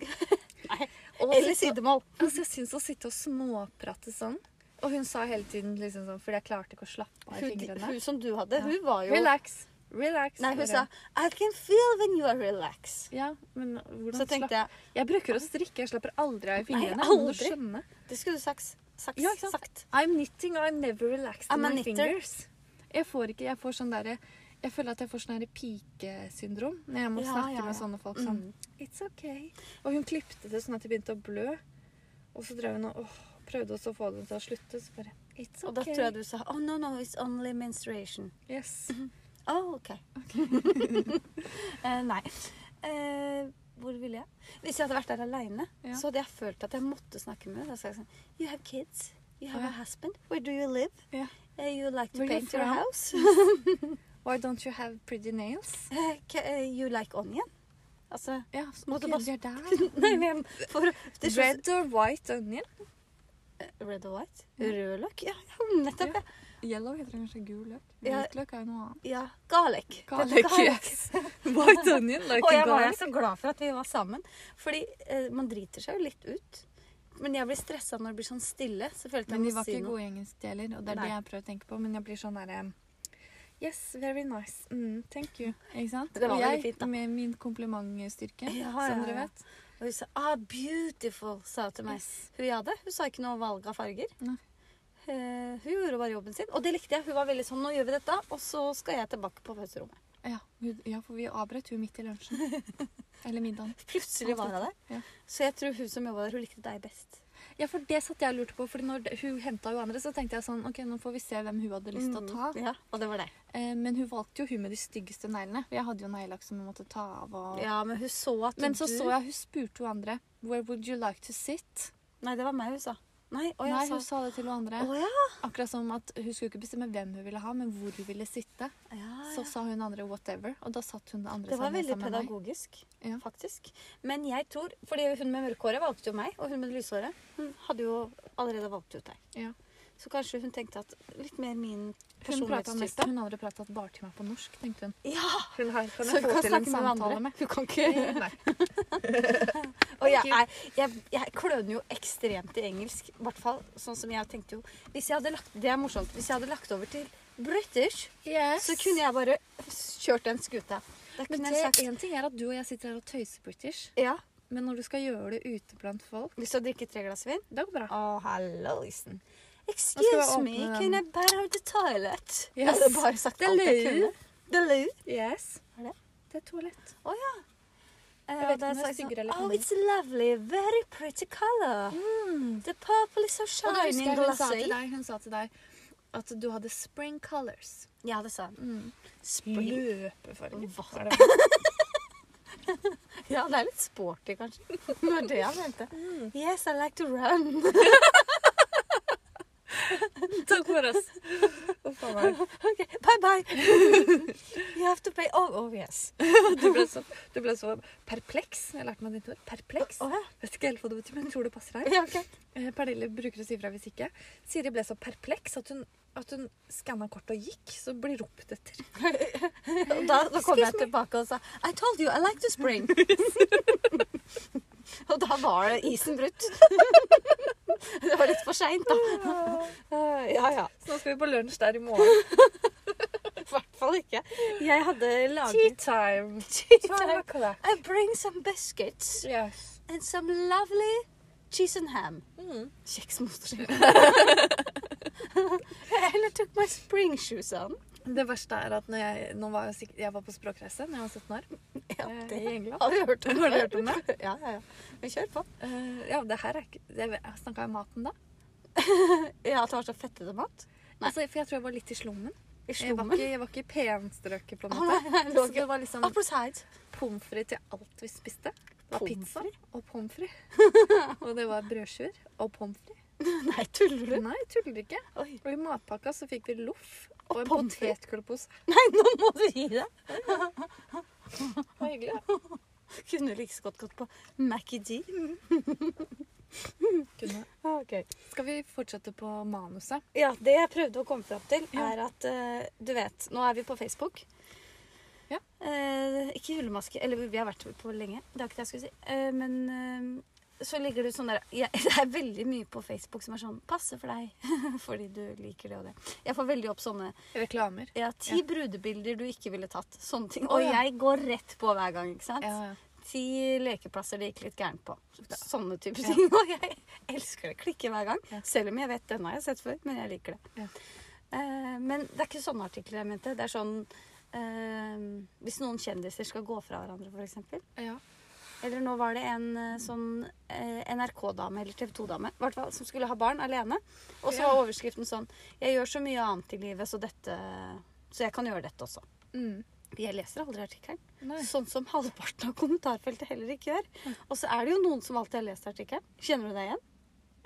Speaker 2: Nei.
Speaker 1: Og
Speaker 2: Eller
Speaker 1: sitte-
Speaker 2: sidemål.
Speaker 1: altså, jeg syns å sitte og småprate sånn Og hun sa hele tiden liksom sånn Fordi jeg klarte ikke å slappe av i
Speaker 2: Hun,
Speaker 1: fingrene.
Speaker 2: hun som du hadde, hun var jo
Speaker 1: Relax. Relax.
Speaker 2: Nei, hun
Speaker 1: bare.
Speaker 2: sa I can feel when you are relaxed.
Speaker 1: Ja, men hvordan
Speaker 2: Så tenkte jeg
Speaker 1: slapp- Jeg bruker å strikke. Jeg slapper aldri av i fingrene.
Speaker 2: Nei,
Speaker 1: det må du
Speaker 2: aldri.
Speaker 1: skjønne.
Speaker 2: Det skulle du sagt. Sagt.
Speaker 1: Ja, ikke sant?
Speaker 2: sagt.
Speaker 1: I'm knitting and I'm never relaxed
Speaker 2: I'm
Speaker 1: in
Speaker 2: a
Speaker 1: my
Speaker 2: knitter.
Speaker 1: fingers. Jeg får ikke Jeg får sånn derre Jeg føler at jeg får sånn derre pikesyndrom når jeg må
Speaker 2: Ja,
Speaker 1: snakke
Speaker 2: ja,
Speaker 1: med
Speaker 2: ja.
Speaker 1: sånne folk sånn
Speaker 2: Mm.
Speaker 1: It's okay. Og hun klipte det sånn at det begynte å blø. Og så drev hun og åh, prøvde også å få det til å slutte. Så bare It's okay.
Speaker 2: Og da tror jeg du sa Oh no, no, it's only menstruation.
Speaker 1: Yes.
Speaker 2: Oh, ok. Eh, nei. Eh, hvor ville jeg? Hvis jeg hadde vært der aleine,
Speaker 1: Ja.
Speaker 2: så hadde jeg følt at jeg måtte snakke med henne. Da sa jeg sånn You have kids. You have
Speaker 1: Ja.
Speaker 2: a husband. Where do you live?
Speaker 1: Ja.
Speaker 2: Eh, you like to
Speaker 1: Where you
Speaker 2: paint your
Speaker 1: from?
Speaker 2: house?
Speaker 1: Why don't you have pretty nails?
Speaker 2: Eh, ca- eh, you like onion? Altså
Speaker 1: Ja,
Speaker 2: Må du
Speaker 1: ok,
Speaker 2: bare-
Speaker 1: de er der.
Speaker 2: Nei, men for, det er så-
Speaker 1: Red or white onion?
Speaker 2: Red og white?
Speaker 1: Ja.
Speaker 2: Rød løk? Ja, ja, nettopp. Ja.
Speaker 1: Yellow heter kanskje gul løk.
Speaker 2: Ja.
Speaker 1: Hvit løk er jo noe annet.
Speaker 2: ja. Garlic.
Speaker 1: Garlic, yes. White onion, det er
Speaker 2: Og
Speaker 1: ikke
Speaker 2: jeg var
Speaker 1: garlic.
Speaker 2: jo så glad for at vi var sammen. Fordi eh, man driter seg jo litt ut. Men jeg blir stressa når det blir sånn stille. Så følte jeg
Speaker 1: Men de
Speaker 2: jeg
Speaker 1: var
Speaker 2: måtte si
Speaker 1: ikke
Speaker 2: noe.
Speaker 1: gode i engelsk de heller, og det er
Speaker 2: Nei.
Speaker 1: det jeg prøver å tenke på. Men jeg blir sånn derre Yes, very nice. Mm, thank you. Ikke sant?
Speaker 2: Det var
Speaker 1: og
Speaker 2: veldig
Speaker 1: jeg,
Speaker 2: fint, da.
Speaker 1: med min komplimentstyrke,
Speaker 2: Ja,
Speaker 1: som
Speaker 2: ja,
Speaker 1: dere
Speaker 2: ja.
Speaker 1: vet
Speaker 2: Og hun sa 'ah, beautiful', sa hun til meg.
Speaker 1: Yes.
Speaker 2: Hun jeg hadde, hun sa ikke noe valg av farger.
Speaker 1: Nei.
Speaker 2: Eh, hun gjorde bare jobben sin. Og det likte jeg. Hun var veldig sånn 'nå gjør vi dette', og så skal jeg tilbake på pauserommet.
Speaker 1: Ja, hun- ja, for vi avbrøt hun midt i lunsjen. Eller middagen.
Speaker 2: Plutselig var hun der.
Speaker 1: Ja.
Speaker 2: Så jeg tror hun som jobba der, hun likte deg best.
Speaker 1: Ja, for det satt jeg og lurte på, for når det- hun henta jo andre, så tenkte jeg sånn Ok, nå får vi se hvem hun hadde lyst til å ta.
Speaker 2: Mm, Ja, og det var deg.
Speaker 1: Eh, men hun valgte jo hun med de styggeste neglene. For jeg hadde jo neglelakk som hun måtte ta av og
Speaker 2: Ja, men hun så at
Speaker 1: Men så
Speaker 2: du
Speaker 1: så jeg hun spurte hun andre Where would you like to sit?
Speaker 2: Nei, det var meg hun sa. Nei, å, jeg
Speaker 1: Nei,
Speaker 2: sa
Speaker 1: hun sa det til hun andre.
Speaker 2: Å ja.
Speaker 1: Akkurat som at hun skulle ikke bestemme hvem hun ville ha, men hvor hun ville sitte.
Speaker 2: Ja, ja.
Speaker 1: Så sa hun andre 'whatever', og da satt hun Ah, det andre
Speaker 2: Det var
Speaker 1: sammen-
Speaker 2: veldig
Speaker 1: sammen med meg.
Speaker 2: pedagogisk,
Speaker 1: Ja.
Speaker 2: faktisk. Men jeg tror Fordi hun med mørkhåret valgte jo meg, og hun med det lyse håret hun hadde jo allerede valgt ut deg.
Speaker 1: Ja.
Speaker 2: Så kanskje hun tenkte at litt mer min
Speaker 1: Hun, pratet mest,
Speaker 2: personlighetstype.
Speaker 1: hun andre prata bare til meg på norsk, tenkte hun.
Speaker 2: Ja,
Speaker 1: Hun her kan
Speaker 2: så hun kan snakke med andre. Hun kan ikke
Speaker 1: Nei.
Speaker 2: Og jeg, er, jeg, jeg kløner jo ekstremt i engelsk. I hvert fall sånn som jeg tenkte jo hvis jeg hadde lagt, Det er morsomt. Hvis jeg hadde lagt over til British,
Speaker 1: Yes.
Speaker 2: så kunne jeg bare kjørt den skuta. Da
Speaker 1: Men
Speaker 2: kunne
Speaker 1: det,
Speaker 2: jeg sagt
Speaker 1: en ting er at du og jeg sitter her og tøyser british,
Speaker 2: Ja,
Speaker 1: men når du skal gjøre det ute blant folk,
Speaker 2: hvis du drikker tre glass vin
Speaker 1: det går bra.
Speaker 2: Oh, hello, Isen.
Speaker 1: Nå skal
Speaker 2: Excuse
Speaker 1: vi
Speaker 2: me,
Speaker 1: åpne
Speaker 2: can I
Speaker 1: den.
Speaker 2: borrow the toilet? Jeg
Speaker 1: Yes.
Speaker 2: hadde bare sagt
Speaker 1: Det er
Speaker 2: alt jeg
Speaker 1: løy.
Speaker 2: kunne. Det er løy.
Speaker 1: Yes.
Speaker 2: Hva er det?
Speaker 1: Det er toalett.
Speaker 2: Eh, og
Speaker 1: vet
Speaker 2: da
Speaker 1: ikke om det er
Speaker 2: sa jeg sånn,
Speaker 1: styggere eller
Speaker 2: Oh,
Speaker 1: annerledes.
Speaker 2: it's lovely. Very pretty color. The purple is so
Speaker 1: Hmm. Og da husker
Speaker 2: shining
Speaker 1: jeg hun sa
Speaker 2: glassy.
Speaker 1: til deg, hun sa til deg at du hadde spring colors.
Speaker 2: Ja, det sa han.
Speaker 1: Mm.
Speaker 2: Spring.
Speaker 1: Løpefarge.
Speaker 2: Hva?
Speaker 1: Er det-
Speaker 2: Ja, det er litt sporty, kanskje. Det var det han mente.
Speaker 1: Hmm.
Speaker 2: Yes, I like to run.
Speaker 1: Takk for oss. Å, faen meg.
Speaker 2: Ok, Bye, bye. You have to pay. Oh, oh yes.
Speaker 1: Du ble, så, du ble så perpleks. Jeg lærte meg ditt ord. Perpleks.
Speaker 2: Å, Oh, ja.
Speaker 1: Vet ikke helt hva det betyr, men jeg tror det passer her.
Speaker 2: Ja, ok.
Speaker 1: Eh, Pernille bruker å si fra hvis ikke. Siri ble så perpleks at hun, at hun skanna kortet og gikk, så blir ropt etter.
Speaker 2: Og Da, da kom jeg
Speaker 1: Excuse me.
Speaker 2: tilbake og sa I told you I like to spring. og da var det isen brutt. det var litt for seint, da. Eh, Ja ja.
Speaker 1: Så nå skal vi på lunsj der i morgen.
Speaker 2: I hvert fall ikke. Jeg hadde
Speaker 1: Tea
Speaker 2: laget
Speaker 1: time.
Speaker 2: Time. I bring some biscuits
Speaker 1: Yes.
Speaker 2: and some lovely cheese and ham.
Speaker 1: Mm.
Speaker 2: Kjeks med osteskinke. Eller took my spring shoes on.
Speaker 1: Det verste er at når jeg, nå var jeg, sikk- jeg var på språkreise da jeg var 17 år.
Speaker 2: Ja,
Speaker 1: eh,
Speaker 2: det
Speaker 1: I England.
Speaker 2: har vi hørt om.
Speaker 1: Har du hørt om det?
Speaker 2: ja, ja, ja. Men kjør på.
Speaker 1: Eh, ja, det her er ikke Jeg snakka om maten da.
Speaker 2: Ja, at det var så fettete mat. Nei.
Speaker 1: Altså, for jeg tror jeg var litt i slummen.
Speaker 2: i
Speaker 1: Jeg var
Speaker 2: slummen.
Speaker 1: ikke, jeg var ikke i penstrøket, på en
Speaker 2: Å,
Speaker 1: måte.
Speaker 2: Ah, nei, nei, det
Speaker 1: Så
Speaker 2: var ikke-
Speaker 1: det var liksom
Speaker 2: Apples height.
Speaker 1: pommes frites til alt vi spiste. Det var
Speaker 2: Pommes
Speaker 1: pizza og pommes frites. Og det var brødskiver og pommes frites.
Speaker 2: Nei, tuller du?
Speaker 1: Nei, tuller ikke.
Speaker 2: Oi.
Speaker 1: Og i matpakka så fikk vi loff og
Speaker 2: Og
Speaker 1: en
Speaker 2: pommes frites.
Speaker 1: potetgullpose.
Speaker 2: Nei, nå må du gi deg.
Speaker 1: Det var hyggelig.
Speaker 2: Kunne like så godt gått på Mackie D.
Speaker 1: Kunne. Skal vi fortsette på manuset?
Speaker 2: Ja, det jeg prøvde å komme fram til,
Speaker 1: Ja.
Speaker 2: er at eh, du vet, nå er vi på Facebook.
Speaker 1: Ja.
Speaker 2: Eh, ikke julemaske, eller vi har vært på lenge, det er ikke det jeg skulle si. Eh, men eh, så ligger du sånn der ja, Det er veldig mye på Facebook som er sånn passe for deg, fordi du liker det og det. Jeg får veldig opp sånne
Speaker 1: Reklamer.
Speaker 2: ja, ti brudebilder du ikke ville tatt. Sånne ting. Og
Speaker 1: Å, ja.
Speaker 2: jeg går rett på hver gang, ikke sant?
Speaker 1: Ja, ja.
Speaker 2: Ti lekeplasser det gikk litt gærent på. Sånne typer ting. Og jeg elsker det. Klikker hver gang.
Speaker 1: Ja.
Speaker 2: Selv om jeg vet denne har jeg sett før, men jeg liker det.
Speaker 1: Ja.
Speaker 2: Eh, men det er ikke sånne artikler jeg mente. Det er sånn eh, Hvis noen kjendiser skal gå fra hverandre, f.eks.
Speaker 1: ja.
Speaker 2: Eller nå var det en eh, sånn eh, NRK-dame eller TV 2-dame i hvert fall, som skulle ha barn alene. Og så
Speaker 1: Ja.
Speaker 2: var overskriften sånn Jeg gjør så mye annet i livet, så dette Så jeg kan gjøre dette også.
Speaker 1: Mm.
Speaker 2: Jeg leser aldri artikkelen.
Speaker 1: Nei.
Speaker 2: Sånn som halvparten av kommentarfeltet heller ikke gjør. Og så er det jo noen som alltid har lest artikkelen. Kjenner du deg igjen?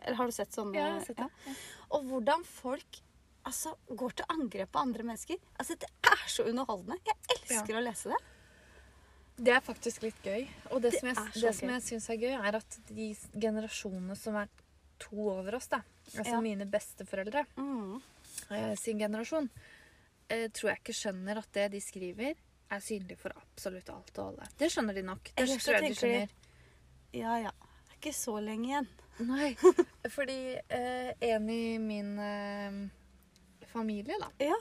Speaker 2: Eller har du sett sånne?
Speaker 1: Ja, jeg har sett det.
Speaker 2: Ja. Og hvordan folk altså, går til angrep på andre mennesker. Altså, det er så underholdende. Jeg elsker å lese det.
Speaker 1: Det er faktisk litt gøy. Og det,
Speaker 2: Det
Speaker 1: som jeg,
Speaker 2: er så
Speaker 1: det som
Speaker 2: gøy.
Speaker 1: jeg syns er gøy, er at de s- generasjonene som er to over oss, da, altså
Speaker 2: Ja.
Speaker 1: mine besteforeldre eh, sin generasjon, eh, tror jeg ikke skjønner at det de skriver, er synlig for absolutt alt og alle. Det skjønner de nok. Det
Speaker 2: Eller så
Speaker 1: tror jeg de
Speaker 2: tenker de-
Speaker 1: skjønner.
Speaker 2: Ja, ja. Det er ikke så lenge igjen.
Speaker 1: Nei. Fordi eh, en i min eh, familie, da,
Speaker 2: Ja.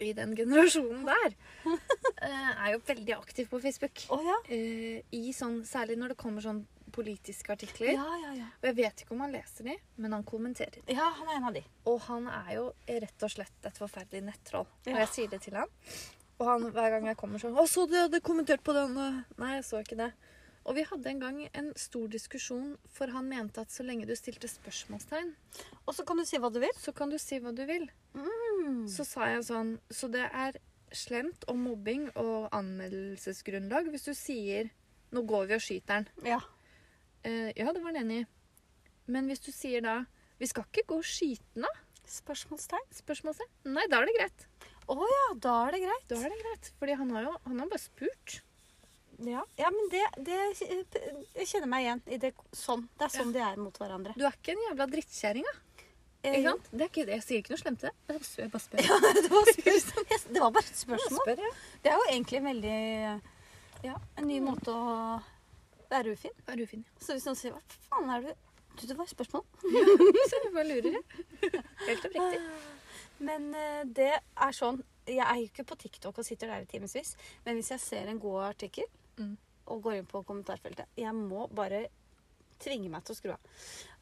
Speaker 1: i den generasjonen der, eh, er jo veldig aktiv på Facebook.
Speaker 2: Å ja.
Speaker 1: Eh, i sånn, særlig når det kommer sånn politiske artikler.
Speaker 2: Ja, ja, ja.
Speaker 1: Og jeg vet ikke om han leser de, men han kommenterer. de.
Speaker 2: Ja, han er en av de.
Speaker 1: Og han er jo rett og slett et forferdelig nettroll. Og
Speaker 2: Ja.
Speaker 1: jeg sier det til han. Og han, hver gang jeg kommer sånn 'Å, så du hadde kommentert på den?' eh?» Nei, jeg så ikke det. Og vi hadde en gang en stor diskusjon, for han mente at så lenge du stilte spørsmålstegn,
Speaker 2: Og så kan du si hva du vil.
Speaker 1: så kan du si hva du vil. Så sa jeg sånn Så det er slemt og mobbing og anmeldelsesgrunnlag hvis du sier 'Nå går vi og skyter den'.
Speaker 2: Ja.
Speaker 1: Eh, ja, det var han enig i. Men hvis du sier da 'Vi skal ikke gå og skyte den av?'
Speaker 2: Spørsmålstegn.
Speaker 1: Spørsmålstegn. Nei, da er det greit.
Speaker 2: Å ja, da er det greit.
Speaker 1: Da er det greit. Fordi han har jo han har bare spurt.
Speaker 2: Ja, ja men det, det Jeg kjenner meg igjen i det. Sånn. Det er sånn de er mot hverandre.
Speaker 1: Du er ikke en jævla drittkjerring, da.
Speaker 2: Eh,
Speaker 1: Ikke sant? Det er ikke, jeg sier ikke noe slemt til det. Jeg bare spør. Jeg bare spør.
Speaker 2: Det var, spørsmål. det var bare et
Speaker 1: Jeg
Speaker 2: spørsmål.
Speaker 1: spør ja.
Speaker 2: Det er jo egentlig en veldig ja, en ny måte å være ufin.
Speaker 1: Er du fin?
Speaker 2: Så hvis noen sier 'hva faen er du?' Du, det var et spørsmål.
Speaker 1: Så jeg bare lurer, jeg. Helt oppriktig.
Speaker 2: Men eh, det er sånn Jeg er jo ikke på TikTok og sitter der i timevis, men hvis jeg ser en god artikkel
Speaker 1: Mm.
Speaker 2: og går inn på kommentarfeltet Jeg må bare tvinge meg til å skru av.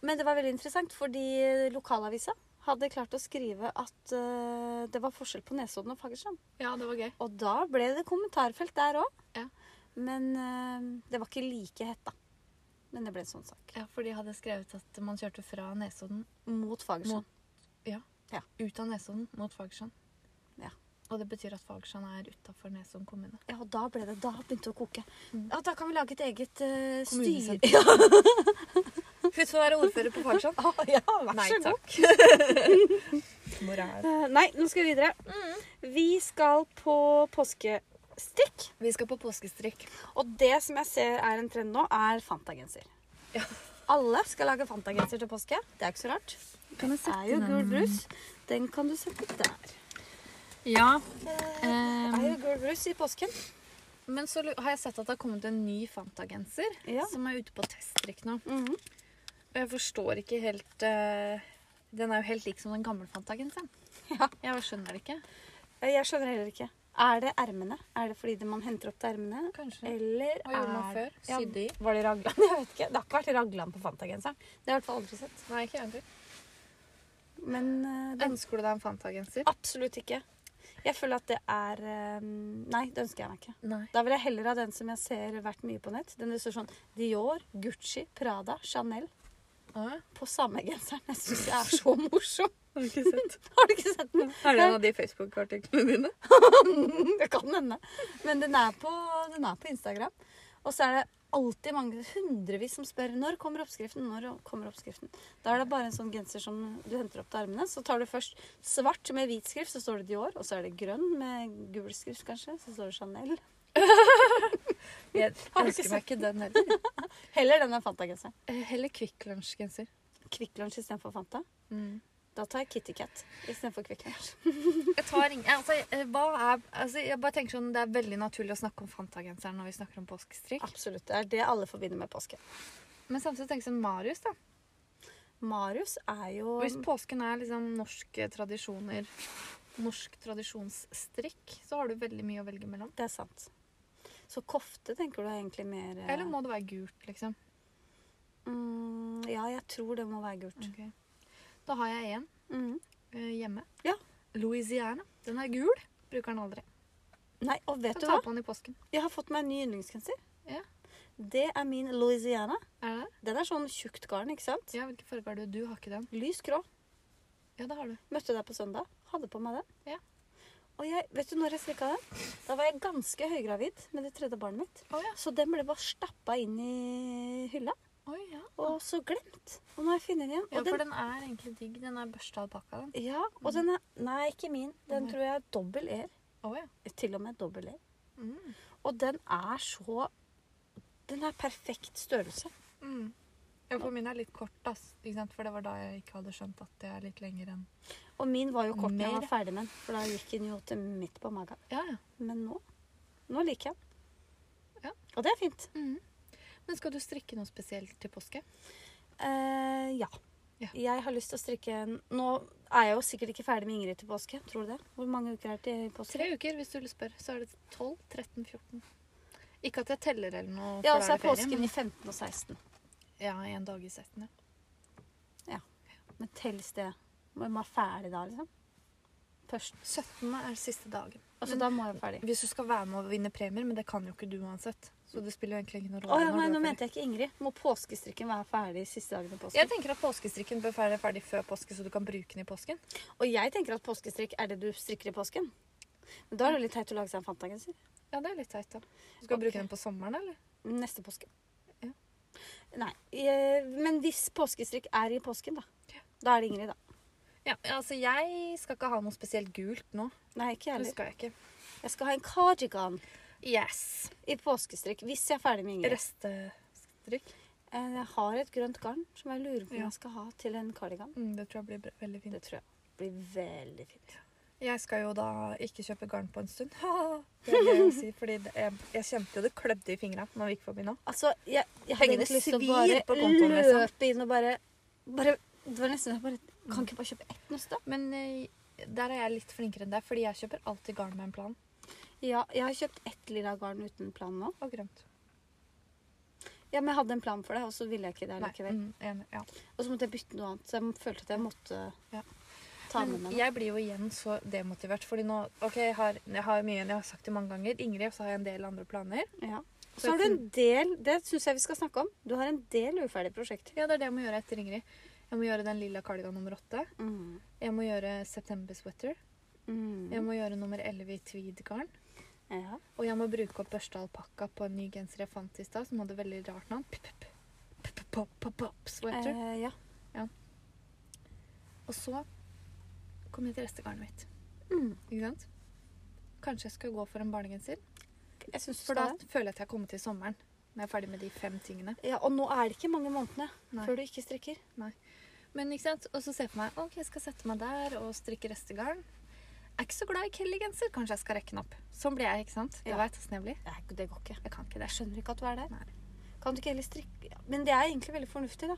Speaker 2: Men det var veldig interessant, fordi lokalavisa hadde klart å skrive at eh, det var forskjell på Nesodden og Fagerstrand.
Speaker 1: Ja, det var gøy.
Speaker 2: Og da ble det kommentarfelt der òg.
Speaker 1: Ja.
Speaker 2: Men eh, det var ikke like hett, da. Men det ble en sånn sak.
Speaker 1: Ja, for de hadde skrevet at man kjørte fra Nesodden
Speaker 2: Mot Fagerstrand.
Speaker 1: Ja.
Speaker 2: Ja.
Speaker 1: Ut av Nesodden mot Fagerstrand.
Speaker 2: Ja.
Speaker 1: Og det betyr at Fagerstrand er utafor Nesodden kommune.
Speaker 2: Ja, og da ble det Da begynte det å koke.
Speaker 1: Mm.
Speaker 2: Ja, da kan vi lage et eget uh, styre.
Speaker 1: Kommunesenter. Hun får være ordfører på Fagerstrand.
Speaker 2: Ja, ja, vær
Speaker 1: Nei
Speaker 2: så god.
Speaker 1: takk. Moral.
Speaker 2: Eh, nei, nå skal vi videre.
Speaker 1: Mm.
Speaker 2: Vi skal på påskestikk.
Speaker 1: Vi skal på påskestrikk.
Speaker 2: Og det som jeg ser er en trend nå, er Fanta-genser.
Speaker 1: Ja.
Speaker 2: Alle skal lage Fanta-genser til påske. Det er ikke så rart.
Speaker 1: Kan jeg
Speaker 2: Det er jo gul brus. Den kan du sette der.
Speaker 1: Ja. Um. Eh,
Speaker 2: Det er jo gul brus i påsken.
Speaker 1: men så lu- har jeg sett at det har kommet en ny Fanta-genser
Speaker 2: Ja.
Speaker 1: som er ute på teststrikk nå.
Speaker 2: Mhm.
Speaker 1: Og jeg forstår ikke helt eh, Den er jo helt lik som den gamle Fanta-genseren.
Speaker 2: Ja.
Speaker 1: Jeg bare skjønner det ikke.
Speaker 2: Eh, Jeg skjønner heller ikke. Er det ermene? Er det fordi det man henter opp til ermene?
Speaker 1: Kanskje.
Speaker 2: Eller
Speaker 1: Hva gjorde man
Speaker 2: er
Speaker 1: før?
Speaker 2: Ja,
Speaker 1: Sydde i?
Speaker 2: var det raglan? Jeg vet ikke. Det har ikke vært raglan på Fanta-genseren. Det har jeg i hvert fall aldri sett.
Speaker 1: Nei, ikke jeg heller.
Speaker 2: Men eh, den
Speaker 1: Ønsker du deg en Fanta-genser?
Speaker 2: Absolutt ikke. Jeg føler at det er eh, Nei, det ønsker jeg meg ikke.
Speaker 1: Nei.
Speaker 2: Da vil jeg heller ha den som jeg ser vært mye på nett. Den det står sånn Dior, Gucci, Prada, Chanel.
Speaker 1: Åh,
Speaker 2: på samme genseren. Jeg syns jeg er så morsom.
Speaker 3: Har du ikke sett?
Speaker 2: Har du ikke sett den?
Speaker 3: Er det en av de Facebook-artiklene dine?
Speaker 2: Det kan hende. Men den er på, den er på Instagram. Og så er det alltid mange, hundrevis, som spør når kommer oppskriften. når kommer oppskriften. Da er det bare en sånn genser som du henter opp til armene. Så tar du først svart med hvit skrift, så står det Dior. Og så er det grønn med gul skrift, kanskje. Så står det Chanel.
Speaker 1: Jeg
Speaker 2: Har du ikke
Speaker 1: ønsker meg ikke den heller.
Speaker 2: Heller den er Fanta-genseren.
Speaker 1: Eh, Heller Kvikk Lunsj-genser. Mm.
Speaker 2: Kvikk Lunsj istedenfor Fanta. Da tar jeg Kitty Cat istedenfor Kvikk Lunsj.
Speaker 1: Jeg tar ingen altså, eh, hva er, altså, jeg bare tenker sånn, Det er veldig naturlig å snakke om Fanta-genseren når vi snakker om påskestrikk.
Speaker 2: Absolutt. Det er det alle forbinder med påske.
Speaker 1: Men samtidig tenker jeg sånn Marius, da.
Speaker 2: Marius er jo
Speaker 1: Hvis påsken er liksom norske tradisjoner, norsk tradisjonsstrikk, så har du veldig mye å velge mellom.
Speaker 2: Det er sant. Så kofte tenker du er egentlig mer eh,
Speaker 1: Eller må det være gult, liksom?
Speaker 2: mm, Ja, jeg tror det må være gult.
Speaker 1: Ok. Da har jeg en
Speaker 2: Mm.
Speaker 1: eh, hjemme.
Speaker 2: Ja.
Speaker 1: Louisiana. Den er gul. Bruker den aldri.
Speaker 2: Nei, og vet
Speaker 1: Kan
Speaker 2: du
Speaker 1: ta
Speaker 2: hva?
Speaker 1: på den i påsken.
Speaker 2: Jeg har fått meg en ny yndlingsgenser.
Speaker 1: Ja.
Speaker 2: Det er min Louisiana.
Speaker 1: Er det det?
Speaker 2: Den er sånn tjukt garn, ikke sant?
Speaker 1: Ja, Hvilken farge har du? Du har ikke den.
Speaker 2: Lys grå.
Speaker 1: Ja, det har du.
Speaker 2: Møtte deg på søndag. Hadde på meg den.
Speaker 1: Ja.
Speaker 2: Og jeg, vet du når jeg strikka den? Da var jeg ganske høygravid med det tredje barnet mitt.
Speaker 1: Å ja.
Speaker 2: Så den ble bare stappa inn i hylla,
Speaker 1: Oi, ja.
Speaker 2: og så glemt. Og nå har jeg funnet den igjen.
Speaker 1: ja,
Speaker 2: Og
Speaker 1: for
Speaker 2: den,
Speaker 1: den er egentlig digg. Den er børsta alpakka, den.
Speaker 2: ja, og den er Nei, ikke min. Den
Speaker 1: Nei.
Speaker 2: tror jeg er dobbel E.
Speaker 1: Å ja.
Speaker 2: Til og med dobbel E.
Speaker 1: Mm.
Speaker 2: Og den er så Den er perfekt størrelse.
Speaker 1: Mm. Ja, for min er litt kort, ass. Ikke sant? For det var da jeg ikke hadde skjønt at det er litt lenger enn
Speaker 2: Og min var jo kort da jeg
Speaker 1: Mer.
Speaker 2: var ferdig med den, for da gikk den jo til midt på magen.
Speaker 1: Ja, ja.
Speaker 2: Men nå nå liker jeg den.
Speaker 1: Ja.
Speaker 2: Og det er fint.
Speaker 1: Mm. Men skal du strikke noe spesielt til påske?
Speaker 2: Eh, ja.
Speaker 1: Ja.
Speaker 2: Jeg har lyst til å strikke en Nå er jeg jo sikkert ikke ferdig med Ingrid til påske. Tror du det? Hvor mange uker er det til påske?
Speaker 1: Tre uker, hvis du vil spørre. Så er det 12, 13, 14. Ikke at jeg teller eller noe.
Speaker 2: Ja, og
Speaker 1: for da
Speaker 2: så er
Speaker 1: det ferie,
Speaker 2: påsken i 15 og 16.
Speaker 1: men- Ja, en dag i setten, ja.
Speaker 2: Men telles det? Må man være ferdig da, liksom? Først.
Speaker 1: 17. er siste dagen.
Speaker 2: Altså, da må jeg være ferdig.
Speaker 1: Hvis du skal være med og vinne premier, men det kan jo ikke du uansett. Så det spiller jo egentlig ingen rolle.
Speaker 2: Å ja,
Speaker 1: når
Speaker 2: nei,
Speaker 1: du
Speaker 2: nå
Speaker 1: er ferdig.
Speaker 2: mente jeg ikke Ingrid. Må påskestrikken være ferdig siste dagen til påske?
Speaker 1: Jeg tenker at påskestrikken bør være ferdig før påske, så du kan bruke den i påsken.
Speaker 2: Og jeg tenker at påskestrikk er det du strikker i påsken. Men da er det litt teit å lage seg en Fanta-genser.
Speaker 1: Ja, det er litt teit, da. Du skal
Speaker 2: Ok.
Speaker 1: bruke den på sommeren, eller?
Speaker 2: Neste påske.
Speaker 1: Ja.
Speaker 2: Nei. eh, Men hvis påskestrikk er i påsken, da. Da er det Ingrid, da.
Speaker 1: Ja, altså jeg skal ikke ha noe spesielt gult nå.
Speaker 2: Nei, ikke jeg
Speaker 1: Det
Speaker 2: heller.
Speaker 1: skal jeg ikke.
Speaker 2: Jeg skal ha en cardigan
Speaker 1: Yes.
Speaker 2: i påskestrikk hvis jeg er ferdig med Ingrid.
Speaker 1: Restestrikk.
Speaker 2: Eh, Jeg har et grønt garn som jeg lurer på om
Speaker 1: Ja.
Speaker 2: jeg skal ha til en cardigan.
Speaker 1: Mm, det tror jeg blir bra-
Speaker 2: Det
Speaker 1: veldig fint.
Speaker 2: tror jeg blir veldig fint.
Speaker 1: Jeg skal jo da ikke kjøpe garn på en stund. det er det jeg, si, fordi det, jeg, jeg kjente jo det klødde i fingra når vi gikk forbi nå.
Speaker 2: Altså, jeg, jeg hadde
Speaker 1: Pengene
Speaker 2: egentlig lyst til å
Speaker 1: svir på
Speaker 2: bare
Speaker 1: kontoen, liksom.
Speaker 2: løpe inn og bare, bare Det var nesten jeg bare Kan ikke bare kjøpe ett nøste?
Speaker 1: Men eh, der er jeg litt flinkere enn deg, fordi jeg kjøper alltid garn med en plan.
Speaker 2: Ja, jeg har kjøpt ett lilla garn uten plan nå.
Speaker 1: Og grønt.
Speaker 2: Ja, men jeg hadde en plan for det, og så ville jeg ikke det
Speaker 1: Nei,
Speaker 2: likevel.
Speaker 1: mm, enig, ja.
Speaker 2: Og så måtte jeg bytte noe annet, så jeg følte at jeg måtte
Speaker 1: Ja.
Speaker 2: ta med
Speaker 1: Men
Speaker 2: meg noe.
Speaker 1: jeg blir jo igjen så demotivert, fordi nå OK, jeg har, jeg har mye jeg har sagt det mange ganger. Ingrid, og så har jeg en del andre planer.
Speaker 2: Ja. Så har du en del Det syns jeg vi skal snakke om. Du har en del uferdige prosjekter.
Speaker 1: Ja, det er det jeg må gjøre etter Ingrid. Jeg må gjøre den lilla kardigan nummer åtte.
Speaker 2: Mm.
Speaker 1: Jeg må gjøre september sweater.
Speaker 2: Mm.
Speaker 1: Jeg må gjøre nummer 11 i tweedgarn.
Speaker 2: Ja.
Speaker 1: Og jeg må bruke opp børsta alpakka på en ny genser jeg fant i stad, som hadde veldig rart navn. P- p- p- p- p- p- p- Sweater.
Speaker 2: Eh, ja. Eh.
Speaker 1: Og så kom jeg til restegarnet mitt.
Speaker 2: Mm.
Speaker 1: Ikke sant? Kanskje jeg skal gå for en barnegenser?
Speaker 2: Jeg syns du
Speaker 1: For
Speaker 2: skal
Speaker 1: da
Speaker 2: det.
Speaker 1: føler jeg at jeg har kommet til sommeren. Når jeg er ferdig med de fem tingene.
Speaker 2: Ja, og nå er det ikke mange månedene
Speaker 1: Nei.
Speaker 2: før du ikke strikker.
Speaker 1: Men ikke sant? Og så ser jeg for meg ok, jeg skal sette meg der og strikke restegarn. Jeg er ikke så glad i Kelly-genser. Kanskje jeg skal rekke den opp. Sånn blir jeg, ikke sant? Du
Speaker 2: Ja.
Speaker 1: vet åssen jeg blir.
Speaker 2: Nei, det går ikke.
Speaker 1: Jeg kan ikke det.
Speaker 2: Jeg skjønner ikke at du er der.
Speaker 1: Nei.
Speaker 2: Kan du ikke heller strikke ja. Men det er egentlig veldig fornuftig, da.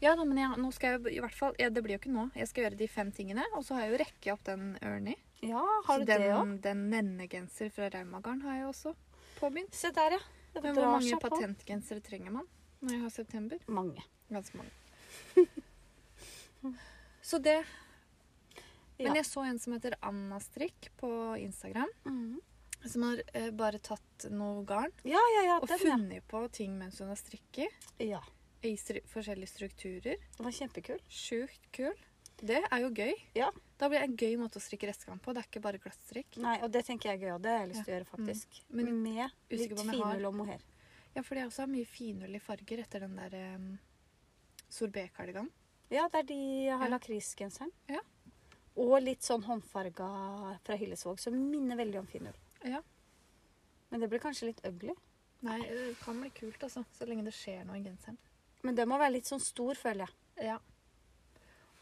Speaker 1: Ja da, men jeg, nå skal jeg i hvert fall ja, Det blir jo ikke nå. Jeg skal gjøre de fem tingene. Og så har jeg jo rekke opp den Ernie.
Speaker 2: Ja, har du
Speaker 1: Så
Speaker 2: det òg?
Speaker 1: den, den nennegenser fra Raumagarden har jeg også påbegynt.
Speaker 2: Se der, ja. Det
Speaker 1: Men hvor
Speaker 2: drar
Speaker 1: mange
Speaker 2: seg på.
Speaker 1: patentgensere trenger man når jeg har september?
Speaker 2: Mange.
Speaker 1: Ganske mange. Så det.
Speaker 2: Ja.
Speaker 1: Men jeg så en som heter Anna Strikk på Instagram.
Speaker 2: Mhm.
Speaker 1: Som har eh, bare tatt noe garn
Speaker 2: Ja, ja, ja.
Speaker 1: og
Speaker 2: Den,
Speaker 1: funnet på ting mens hun har strikket.
Speaker 2: ja. ja.
Speaker 1: i stru forskjellige strukturer.
Speaker 2: Det var kjempekul.
Speaker 1: Sjukt kul. Det er jo gøy.
Speaker 2: Ja.
Speaker 1: Da blir det en gøy måte å strikke restgarn på. Det er ikke bare glattstrikk.
Speaker 2: Nei, og det tenker jeg er gøy, og det har jeg lyst til å gjøre, faktisk.
Speaker 1: Mm. Men jeg
Speaker 2: Med
Speaker 1: usikker
Speaker 2: litt
Speaker 1: på om jeg har-
Speaker 2: finull og mohair.
Speaker 1: Ja, for det er også mye finull i farger etter den der eh, sorbet-kardigan.
Speaker 2: Ja, det er de jeg har
Speaker 1: Ja.
Speaker 2: lakrisgenseren.
Speaker 1: Ja.
Speaker 2: Og litt sånn håndfarga fra Hillesvåg, som minner veldig om finull.
Speaker 1: Ja.
Speaker 2: Men det blir kanskje litt ugly.
Speaker 1: Nei, det kan bli kult, altså. Så lenge det skjer noe i genseren.
Speaker 2: Men det må være litt sånn stor, føler jeg.
Speaker 1: Ja.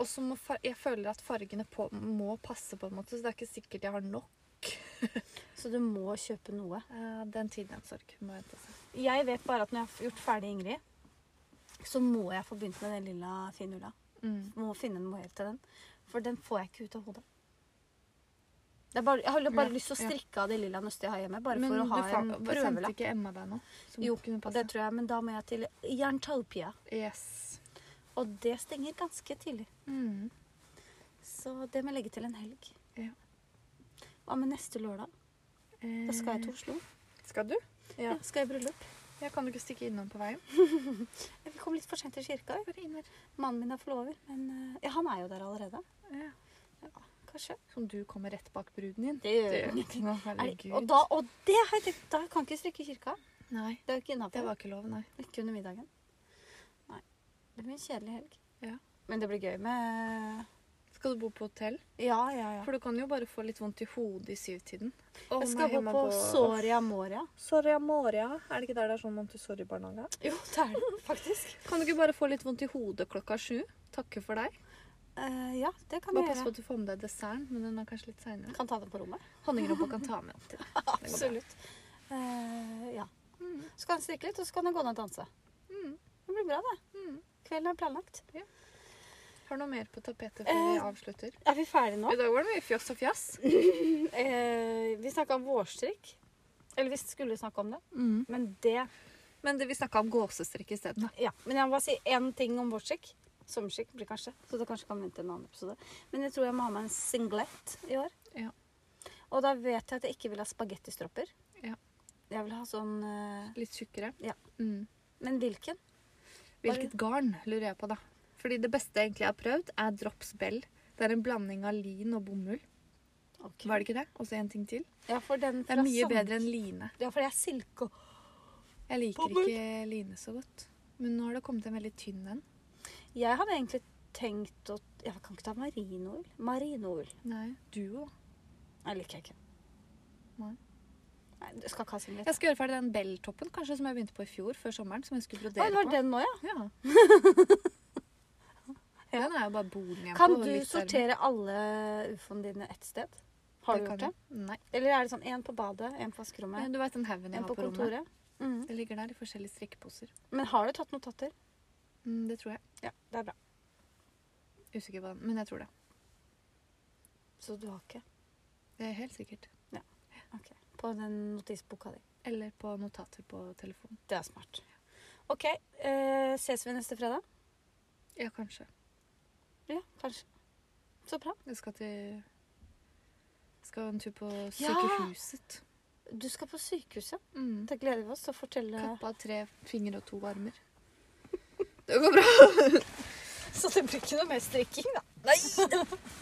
Speaker 1: Og så må far jeg føler at fargene på må passe på en måte, så det er ikke sikkert jeg har nok.
Speaker 2: Så du må kjøpe noe.
Speaker 1: Eh, den tiden er en sorg. Må vente og se.
Speaker 2: Jeg vet bare at når jeg har gjort ferdig Ingrid, så må jeg få begynt med den lilla finulla.
Speaker 1: Mm.
Speaker 2: Må finne en mohair til den. For den får jeg ikke ut av hodet. Det er bare, jeg har bare
Speaker 1: Ja,
Speaker 2: lyst til å
Speaker 1: ja.
Speaker 2: strikke av det lilla nøstet jeg har hjemme. Bare
Speaker 1: Men
Speaker 2: for å ha
Speaker 1: du fa-
Speaker 2: en
Speaker 1: Sendte
Speaker 2: prøvelapp.
Speaker 1: ikke Emma deg noe? Som
Speaker 2: Jo, Det
Speaker 1: kunne passe?
Speaker 2: tror jeg, men da må jeg til Jerntopia.
Speaker 1: Yes.
Speaker 2: Og det stenger ganske tidlig.
Speaker 1: Mm.
Speaker 2: Så det må jeg legge til en helg.
Speaker 1: Ja.
Speaker 2: Hva med neste lørdag? Da skal jeg til Oslo.
Speaker 1: Eh, Skal du?
Speaker 2: Ja. skal jeg i bryllup.
Speaker 1: Jeg kan jo ikke stikke innom på veien.
Speaker 2: Jeg kom litt for sent til kirka. jeg.
Speaker 1: Bare inn her.
Speaker 2: Mannen min er forlover, men eh, ja, han er jo der allerede.
Speaker 1: Ja.
Speaker 2: Kanskje.
Speaker 1: Som du kommer rett bak bruden din.
Speaker 2: Det gjør
Speaker 1: Det
Speaker 2: jo
Speaker 1: gjør
Speaker 2: ingenting.
Speaker 1: ingenting. Å,
Speaker 2: Er det,
Speaker 1: herregud.
Speaker 2: og, da, og det har jeg tenkt, da kan jeg ikke strikke i kirka.
Speaker 1: Nei,
Speaker 2: Det er jo ikke
Speaker 1: det
Speaker 2: innafor.
Speaker 1: var ikke lov, nei.
Speaker 2: Ikke under middagen. Nei. Det blir en kjedelig helg.
Speaker 1: Ja.
Speaker 2: Men det blir gøy med
Speaker 1: Skal du bo på hotell?
Speaker 2: Ja, ja, ja.
Speaker 1: For du kan jo bare få litt vondt i hodet i syvtiden. Å,
Speaker 2: Jeg skal
Speaker 1: nei,
Speaker 2: gå
Speaker 1: jeg må
Speaker 2: på
Speaker 1: gå-
Speaker 2: Soria Moria.
Speaker 3: Soria Moria, er det ikke der det er sånn Montessori-barnehage?
Speaker 2: Jo, det er det faktisk.
Speaker 1: Kan du ikke bare få litt vondt i hodet klokka sju? Takke for deg.
Speaker 2: Eh, ja, det kan
Speaker 1: Bare
Speaker 2: jeg
Speaker 1: pass på
Speaker 2: gjøre.
Speaker 1: at du får med deg desserten, men den er kanskje litt seinere.
Speaker 2: Kan ta det på rommet.
Speaker 1: Honningrobba kan ta med opp til deg. Det går bra.
Speaker 2: Eh, ja.
Speaker 1: Mm.
Speaker 2: Så kan han strikke litt, og så kan han gå ned og danse.
Speaker 1: Mm.
Speaker 2: Det blir bra, det.
Speaker 1: Mm.
Speaker 2: Kvelden er planlagt.
Speaker 1: Har du noe mer på tapetet før vi
Speaker 2: Eh,
Speaker 1: avslutter?
Speaker 2: Er vi ferdige nå?
Speaker 1: I dag var det mye fjoss og fjass.
Speaker 2: Eh, vi snakka om vårstrikk. Eller vi skulle snakke om det,
Speaker 1: Mm.
Speaker 2: men det
Speaker 1: Men det, vi snakka om gåsestrikk isteden. da.
Speaker 2: Ja, men jeg må bare si én ting om vårstrikk. Sommerstrikk blir kanskje, så det kanskje kan vente en annen episode. Men jeg tror jeg må ha meg en singlet i år.
Speaker 1: Ja.
Speaker 2: Og da vet jeg at jeg ikke vil ha spagettistropper.
Speaker 1: Ja.
Speaker 2: Jeg vil ha sånn eh,
Speaker 1: Litt tjukkere.
Speaker 2: Ja.
Speaker 1: Mm.
Speaker 2: Men hvilken?
Speaker 1: Hvilket garn lurer jeg på, da? Fordi det beste egentlig jeg har prøvd, er Drops Bell. Det er en blanding av lin og bomull. Var det ikke det? Og så en ting til.
Speaker 2: Ja, for den
Speaker 1: Det er
Speaker 2: fra
Speaker 1: mye
Speaker 2: Sand-
Speaker 1: bedre enn line.
Speaker 2: Ja, for det er silke og
Speaker 1: Jeg liker
Speaker 2: Bomull.
Speaker 1: ikke line så godt. Men nå har det kommet en veldig tynn en.
Speaker 2: Jeg hadde egentlig tenkt å Jeg kan ikke ta marinoull. Marinoull
Speaker 1: Nei, duo. da.
Speaker 2: Nei, liker jeg ikke.
Speaker 1: Nei.
Speaker 2: Nei, du skal ikke ha singlet.
Speaker 1: Jeg skal gjøre ferdig den Bell-toppen kanskje som jeg begynte på i fjor, før sommeren. Som jeg skulle
Speaker 2: Å, det
Speaker 1: brodere
Speaker 2: var
Speaker 1: på.
Speaker 2: den nå, ja.
Speaker 1: Ja. Den er jo bare boden igjen
Speaker 2: Kan
Speaker 1: på.
Speaker 2: du
Speaker 1: litt armer.
Speaker 2: sortere alle ufoene dine ett sted? Har du
Speaker 1: kan
Speaker 2: gjort det?
Speaker 1: jeg. Nei.
Speaker 2: Eller er det sånn én på badet, én på vaskerommet,
Speaker 1: Men Du veit den haugen jeg
Speaker 2: én
Speaker 1: har
Speaker 2: på
Speaker 1: på, rommet?
Speaker 2: kontoret? Mhm.
Speaker 1: Det ligger der i forskjellige strikkeposer.
Speaker 2: Men har du tatt notater?
Speaker 1: Mm, det tror jeg.
Speaker 2: Ja, det er bra.
Speaker 1: Usikker på den, men jeg tror det.
Speaker 2: Så du har ikke
Speaker 1: Det er helt sikkert.
Speaker 2: Ok. På den notisboka di.
Speaker 1: Eller på notater på telefonen.
Speaker 2: Det er smart. OK. Eh, ses vi neste fredag?
Speaker 1: Ja, kanskje.
Speaker 2: Ja, kanskje. Så bra.
Speaker 1: Jeg skal til Skal en tur på
Speaker 2: Ja!
Speaker 1: sykehuset.
Speaker 2: Du skal på sykehuset.
Speaker 1: Mm.
Speaker 2: Det gleder vi oss til å fortelle.
Speaker 1: Kappa av tre fingre og to armer. Det går bra.
Speaker 2: Så det blir ikke noe mer strikking, da.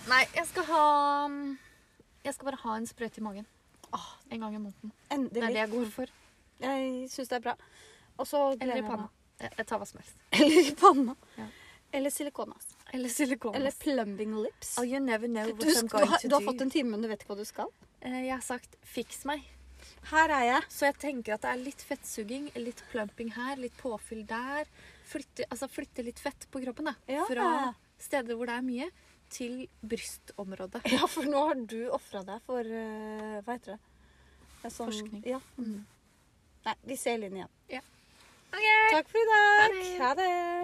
Speaker 1: Nei, jeg skal ha Jeg skal bare ha en sprøyte i magen.
Speaker 2: Åh.
Speaker 1: En gang i måneden. Det er det
Speaker 2: Ah, Endelig.
Speaker 1: jeg går for.
Speaker 2: Jeg syns det er bra. Og så gleder
Speaker 1: Eller i
Speaker 2: jeg
Speaker 1: panna.
Speaker 2: meg.
Speaker 1: Jeg jeg tar hva som helst.
Speaker 2: Eller i panna.
Speaker 1: Ja.
Speaker 2: Eller silikonas.
Speaker 1: Eller silikon.
Speaker 2: Eller plumbing lips.
Speaker 1: Oh, you never know what
Speaker 2: Du,
Speaker 1: I'm
Speaker 2: sk- du,
Speaker 1: going
Speaker 2: har,
Speaker 1: to
Speaker 2: du har
Speaker 1: do.
Speaker 2: fått en time, men du vet ikke hva du skal.
Speaker 1: Eh, Jeg har sagt 'fiks meg',
Speaker 2: Her er jeg.
Speaker 1: så jeg tenker at det er litt fettsuging, litt plumping her, litt påfyll der. Flytte, altså flytte litt fett på kroppen, da.
Speaker 2: Ja.
Speaker 1: Fra steder hvor det er mye, til brystområdet.
Speaker 2: Ja, for nå har du ofra deg for eh, Hva heter det? det er sånn,
Speaker 1: Forskning.
Speaker 2: Ja. Nei, vi ser linjen igjen.
Speaker 1: Okay.
Speaker 2: Takk for i dag.
Speaker 1: det.
Speaker 2: Ha det.